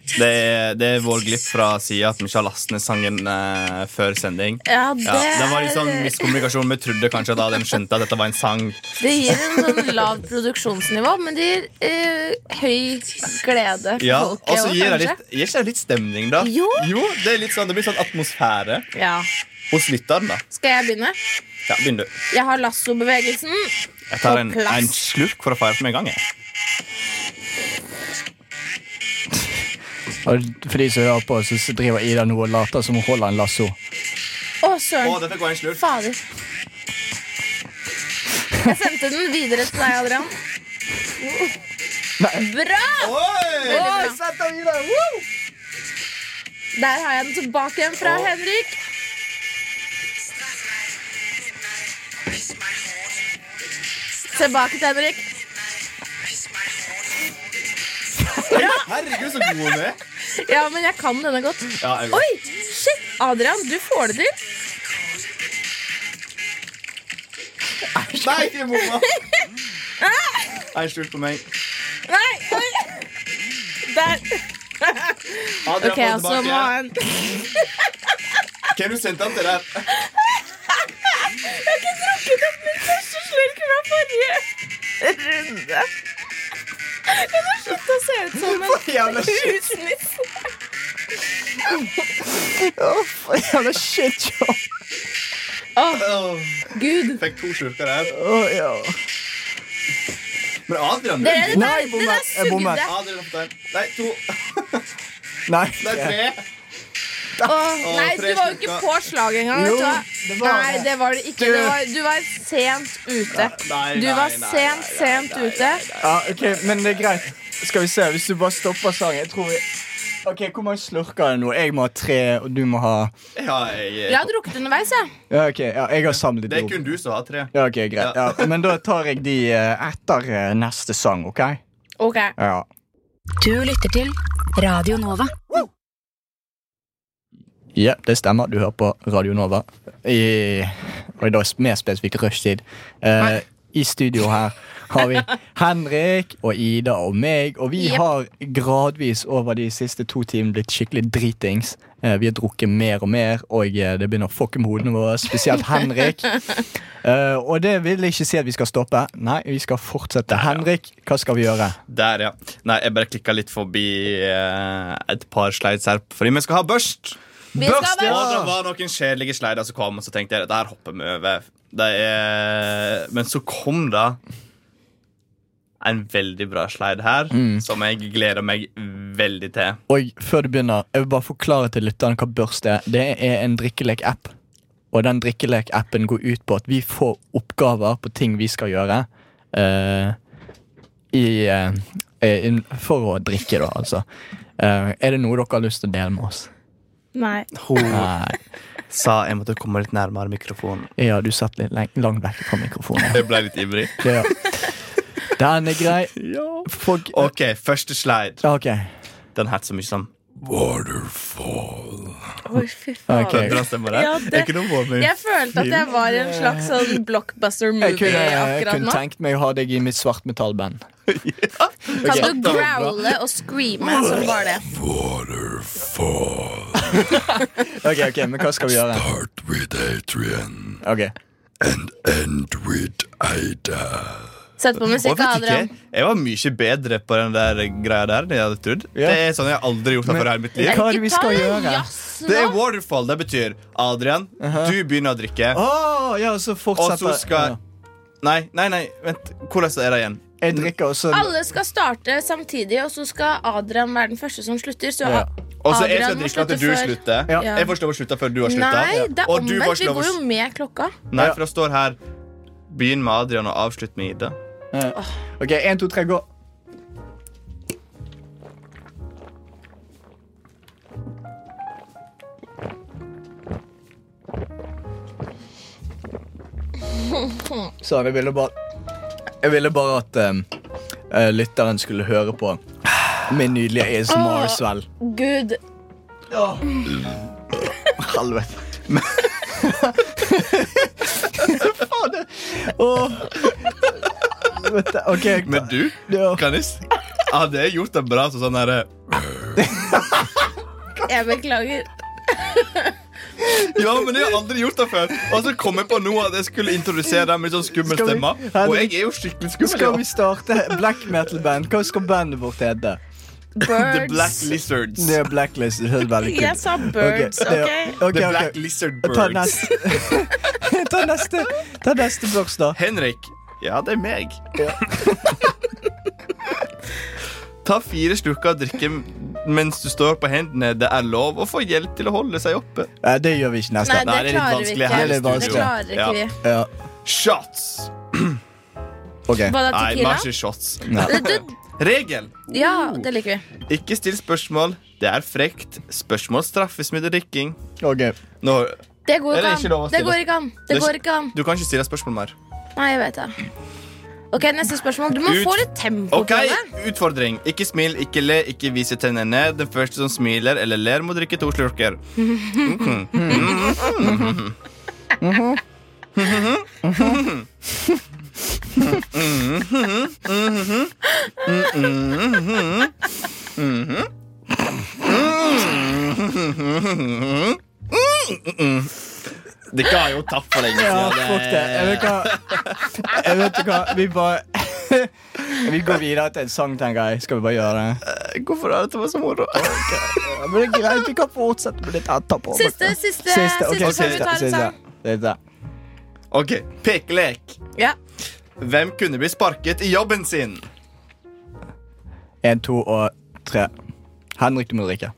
Tast Det er, det er vår glipp fra sida at vi ikke har lastet ned sangen eh, før sending. Ja, det, Ja, det var litt sånn er- miskommunikasjon. Vi trodde kanskje da de skjønte at dette var en sang. Det gir en sånn lav produksjonsnivå, men det gir eh, høy glede for Ja, folket. Og så også, gir det kanskje. litt, gir ikke det litt stemning, da. Jo. det, er litt sånn, det blir sånn atmosfære Ja. hos lytteren, da. Skal jeg begynne? Ja, Begynn, du. Jeg har lassobevegelsen. Jeg tar en, På plass. en slurk for å feire for meg i gang. Jeg. Og for de som hører på, så så driver Ida nå og later som hun holder en lasso. Å, søren. Å, dette går en slurk. Fader. Jeg sendte den videre til deg, Adrian. Bra! Oi! Veldig bra. Der har jeg den tilbake igjen fra Å. Henrik. Straf mig. Hit mig. Piss mig hårdt. Tilbake til Henrik. Hit mig. Piss mig hårdt. Herregud, så god hun er. Ja, men jeg kan denne godt. Ja, jeg går. Oi! Shit! Adrian, du får det til. Nei, ikke mamma! *laughs* En slurk på meg. Nei! Oi. Der. Adrian, OK, få den altså må tilbake. han Hvem du sendte den til der? drukket opp min første slurk fra forrige runde. Hun har sluttet å se ut som en Jævla shit, husnisse. jævla shit show. Gud. Fikk to slurker der. Oh, ja. Men Adrian du- Dere, det Nei, der, jeg det bommet. der Jeg bommet. sugde. Adrian har fått en. Nei, to. Nei. Nei, tre. Åh, nei, tre du var jo ikke slurker. på slaget engang. Jo, vet du hva? det var nei, det. det var det ikke. Du- Det var, du var sent ute. Nei, nei, Du var nei, nei, sent, nei, sent nei, nei, ute. Ja, ok, men det er greit. Skal vi se, hvis du bare stopper sangen. Jeg tror vi Ok, Hvor mange slurker er det nå? Jeg må ha tre, og du må ha Ja, jeg, eh, Jeg har drukket underveis, jeg. Ja, ok, ja, jeg har samlet det er opp. kun du som har tre. Ja, ok, greit. Ja. Men da tar jeg de eh, etter eh, neste sang, OK? Ok. Ja. Du lytter til Radio Nova. Ja, det stemmer. Du hører på Radio Nova. I, og i dag mer spesifikt rushtid. Eh, I studio her har vi Henrik og Ida og meg. Og vi Jep. har gradvis over de siste to timene blitt skikkelig dritings. Eh, vi har drukket mer og mer, og eh, det begynner å fucke med hodene våre. Spesielt Henrik. Eh, og det vil ikke si at vi skal stoppe. Nei, vi skal fortsette. Henrik, hva skal vi gjøre? Der, ja. Nei, jeg bare klikka litt forbi eh, et par slides her, fordi vi skal ha børst. Vi skal Børst, ha ja. Og det var noen kjedelige slider som kom, og så tenkte jeg det her hopper vi over. Det er... Men så kom da en veldig bra slide her, som jeg gleder meg veldig til. Og før du begynner, jeg vil bare forklare til lytterne hva Børst er. Det er en drikkelek-app. Og den drikkelek-appen går ut på at vi får oppgaver på ting vi skal gjøre eh, i, eh, eh, inn- for å drikke, da, altså. Eh, er det noe dere har lyst til å dele med oss? Nei. Hun Nei. sa jeg måtte komme litt nærmere mikrofonen. Ja, du satt litt leng- langt vekk fra mikrofonen. Jeg ble litt ivrig. Det, ja. Den er grei. Folk OK, første slide. Ok. Den het så mye sånn som Oi, fy faen. Ok. Bra stemme der. Ja, Det det- er ikke noe våpen. Jeg følte at jeg var i en slags sånn blockbuster Jeg movie kunne, jeg akkurat kunne nå. tenkt meg å ha deg i mitt svartmetallband. Kan du growle og screame som bare det? Ok, ok, men hva skal vi gjøre? Start with Adrian Ok and end with Ida. Sett på Og musikk, vet Adrian. ikke, jeg var mye bedre på den der greia der enn jeg hadde trodd. Ja. Det er sånn jeg aldri gjort det før her i mitt liv. Hva er det vi Ikke ta skal en gjøre? jazz Det er nå. waterfall. Det betyr Adrian, du begynner å drikke. Åh, ja, så fortsetter Og så skal Nei, nei, nei, vent. Hvordan er det igjen? ja. Jeg drikker, og så Alle skal starte samtidig, og så skal Adrian være den første som slutter. Så Ja. Og så jeg Adrian skal drikke må slutte at du før. slutter. Ja. Jeg får ikke lov å slutte før du har Nei, slutta. det er Og du får omvendt. ikke Vi lov å går jo s- med klokka. Nei, for det står her Begynn med Adrian og avslutt med Ida. Ok, 1, 2, 3, gå Sånn, jeg ville bare Jeg ville bare at um, eh, Lytteren skulle høre på Min nydelige ASMR-svel Gud. Helvete. Men- *laughs* Fader. Åh. Vet du, OK. jeg- Men du, Ja. kan jeg s- Hadde jeg gjort det bra så sånn herre Jeg beklager. Ja, men jeg har aldri gjort det før. Og så kom jeg på nå at jeg skulle introdusere deg med litt sånn skummel Skal vi- stemme. Og jeg er jo skikkelig Skal vi skummel. starte black metal-band? Hva skal bandet vårt hete? *laughs* The Black Birds. Lizards. Det er Blacklist. Det høres veldig Jeg kult sa birds, Ok, det- OK? ok, The ok. Black Lizard Ta Birds. neste. *laughs* ta neste Ta neste børs, da. Henrik. Ja, det er meg. *laughs* Ta fire slukker og drikke mens du står på hendene. Det er lov å få hjelp til å holde seg oppe. Nei, det gjør vi ikke neste. Nei, Nei, det er det litt klarer vi vanskelig ikke. her i Det studio. klarer ikke vi. Ja. Ja, Shots! ok Var det Nei, vi tequila? har ikke shots. Det- det- Regel. Ja, det liker vi. Ikke still spørsmål. Det er frekt. Spørsmål straffes med drikking. Ok. Nå, Det går Eller ikke ikke lov å an. Det stille- går ikke an. Det Det er går ikke an. du kan ikke stille spørsmål mer. Nei, jeg vet det. Ok, Neste spørsmål. Du må Ut. få litt tempo Ok, på det. Utfordring. Ikke smil, ikke le, ikke vise tennene. Den første som smiler eller ler, må drikke to slurker. Mhm. Mhm. Dere har jo tapt for lenge Ja, siden. fuck det. Jeg vet hva. Jeg vet hva. Vi bare *laughs* Vi går videre til en sang, tenker jeg. Skal vi bare gjøre det? Hvorfor har dette vært så moro? Ja, men det er greit, vi kan fortsette med litt etterpå. Siste, siste, Siste, ok, siste, siste, før vi tar en siste, sang. siste. OK, pekelek. Ja. Hvem kunne bli sparket i jobben sin? Én, to og tre. Henrik, du må drikke.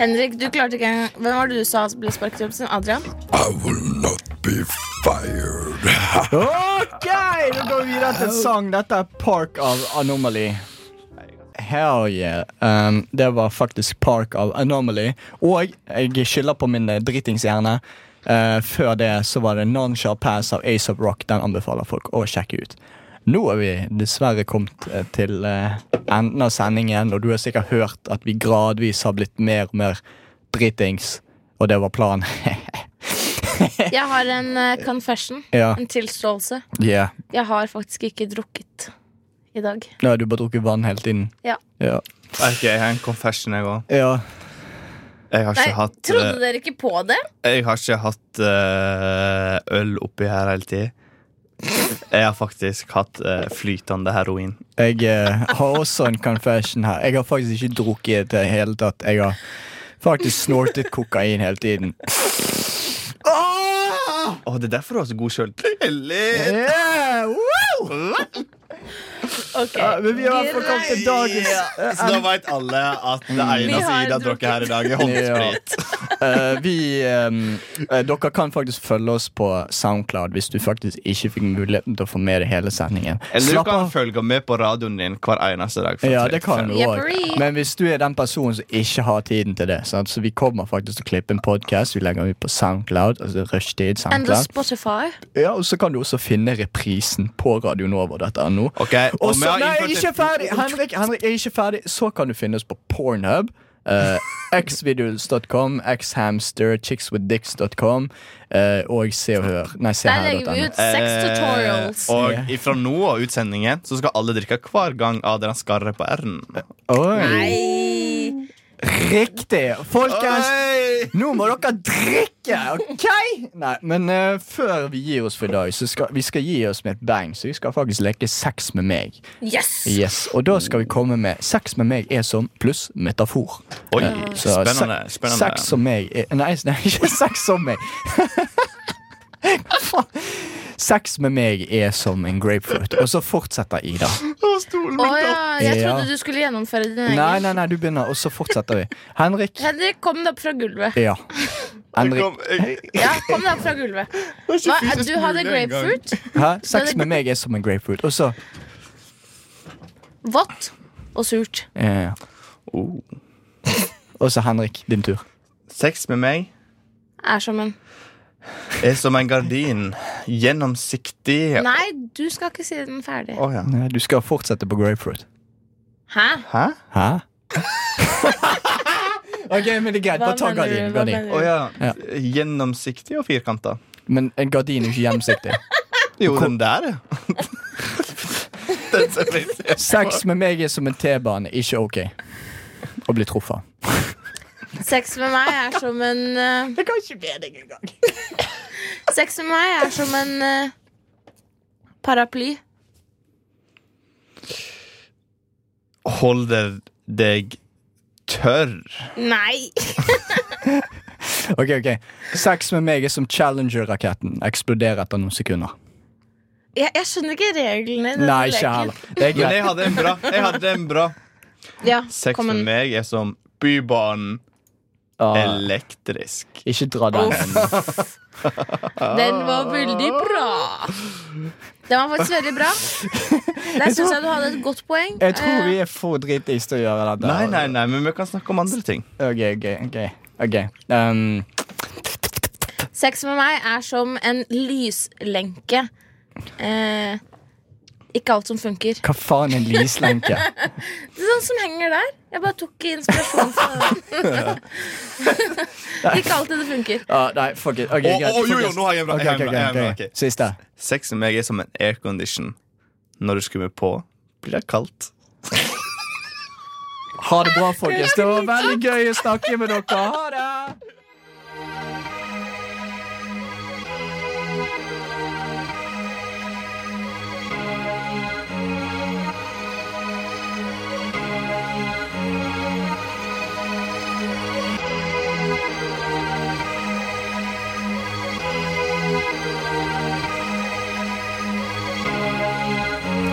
Henrik, du klarte ikke engang Hvem var det du sa ble sparket i jobben sin? Adrian? I will not be fired. OK, da går vi videre til en sang. Dette er Park av Anomaly. Hell yeah. Um, det var faktisk Park av Anomaly. Og jeg skylder på min eh, dritingshjerne. Eh, før det så var det Non Shall Pass av Ace of Rock. Den anbefaler folk å sjekke ut. Nå er vi dessverre kommet eh, til eh, enden av sendingen, og du har sikkert hørt at vi gradvis har blitt mer og mer dritings. Og det var planen. *laughs* Jeg har en eh, confession. ja. En tilståelse. Yeah. Jeg har faktisk ikke drukket i dag. Nå har du bare drukket vann hele tiden. Ja. ja. Ok, Jeg har en confession, jeg òg. Ja, Jeg har Nei, ikke eh, hatt, trodde dere ikke på det? eh, jeg har ikke hatt eh, øl oppi her hele tiden Jeg har faktisk hatt eh, flytende heroin. jeg eh, har også en confession her. Jeg har faktisk ikke drukket i det hele tatt. Jeg har faktisk snortet kokain Ah! hele tiden. Å, Det er derfor du har så god sjøltillit. Yeah, woo! Ja, men vi har i hvert fall kommet til dagens Så da veit alle at det Vi eneste har Ida drukket her i dag, er håndsprit. Eh, vi, ehm, eh, Dere kan faktisk følge oss på Soundcloud hvis du faktisk ikke fikk muligheten til å få med deg hele sendingen. Eller du Slapp kan av. følge med på radioen din hver eneste dag. fra Ja, tre det til kan fem. du Jepperi. òg. Men hvis du er den personen som ikke har tiden til det, sant? så vi kommer faktisk til å klippe en podkast. Vi legger den ut på Soundcloud. Altså Rushtid Enda Soundcloud Spotify. Ja, Og så kan du også finne reprisen på Radio Nova. Dette er nå. Ok, og Og vi så, har nei, innført jeg er ikke et- ferdig! Henrik, Henrik, jeg er ikke ferdig. Så kan du finne oss på Pornhub. eh, xvideos.com, xhamster, chickswithdicks.com eh, og Se og Hør. Nei, se Der her. legger vi dot ut sex tutorials. Eh, og ifra nå av utsendingen så skal alle drikke hver gang Adrian skarrer på r-en. no. Oi, Nei. Riktig! Folkens, Oi! Nå må dere drikke, OK? Nei, men eh, før vi gir oss for i dag, så skal vi skal gi oss med et bang. Så vi skal faktisk leke sex med meg. Yes! Yes, Og da skal vi komme med Sex med meg er som pluss metafor. Oi, Eh, så spennende. se- spennende. Sex som meg er Nei, nei *laughs* ikke sex som meg. Faen. Sex med meg er som en grapefruit. Og så fortsetter Ida. Å ja, jeg Ja. trodde du skulle gjennomføre din Nei, egen. nei, nei, du begynner, og så fortsetter vi. Henrik. Henrik, kom deg opp fra gulvet. Ja. Henrik. Kom, jeg- Ja, kom deg opp *laughs* fra gulvet. Hva, du hadde mulig engang. grapefruit, Hæ? Sex med meg er som en grapefruit. Og så vått og surt. Ja. *laughs* Oh. Og så Henrik, din tur. Sex med meg Er som en er som en gardin. Gjennomsiktig. Nei, du skal ikke si den ferdig. Å, ja. Du skal fortsette på grapefruit. Hæ? Hæ? Hæ? *laughs* ok, men det er greit. Hva Bare ta mener du? gardin. Hva gardin. mener du? Å, ja. Ja. Gjennomsiktig og firkanta. Men en gardin er ikke gjennomsiktig. Jo, den der, ja. *laughs* den som er Sex med meg er som en T-bane. Ikke ok å bli truffet. Sex med meg er som en eh, Det kan ikke be deg engang. Sex med meg er som en eh, paraply. Holder deg tørr. Nei! Ok, ok. Sex med meg er som Challenger-raketten. Eksploderer etter noen sekunder. Jeg, jeg skjønner ikke reglene i denne Nei, ikke leken. heller. Det er Men greit. jeg hadde en bra. Jeg hadde en bra. Ja, Sex kom med en- meg er som Bybanen Ah, elektrisk. ikke dra den. Den var veldig bra. Den var faktisk veldig bra. Der syns jeg du hadde et godt poeng. Jeg tror vi Eh, er for dritings til å gjøre dette. Nei, nei, nei, men vi kan snakke om andre ting. Ok, ok, ok. ok. Um, Eh, Sex med meg er som en lyslenke. Eh, ikke alt som funker. hva faen *laughs* er en lyslenke? Det er sånn som henger der. Jeg bare tok inspirasjon fra den. *laughs* ikke alltid det funker. Ah, nei, fuck it. Ok, Å, greit. å, jo, jo, Folkens. nå har jeg en bra- Ok, jeg har en ok, bra- jeg har en bra, ok, ok. ok. Siste. Sex med meg er som en aircondition. Når du skrur på, blir det kaldt. Ha det bra, folkens. Det var veldig gøy å snakke med dere. Ha det! Rushtid.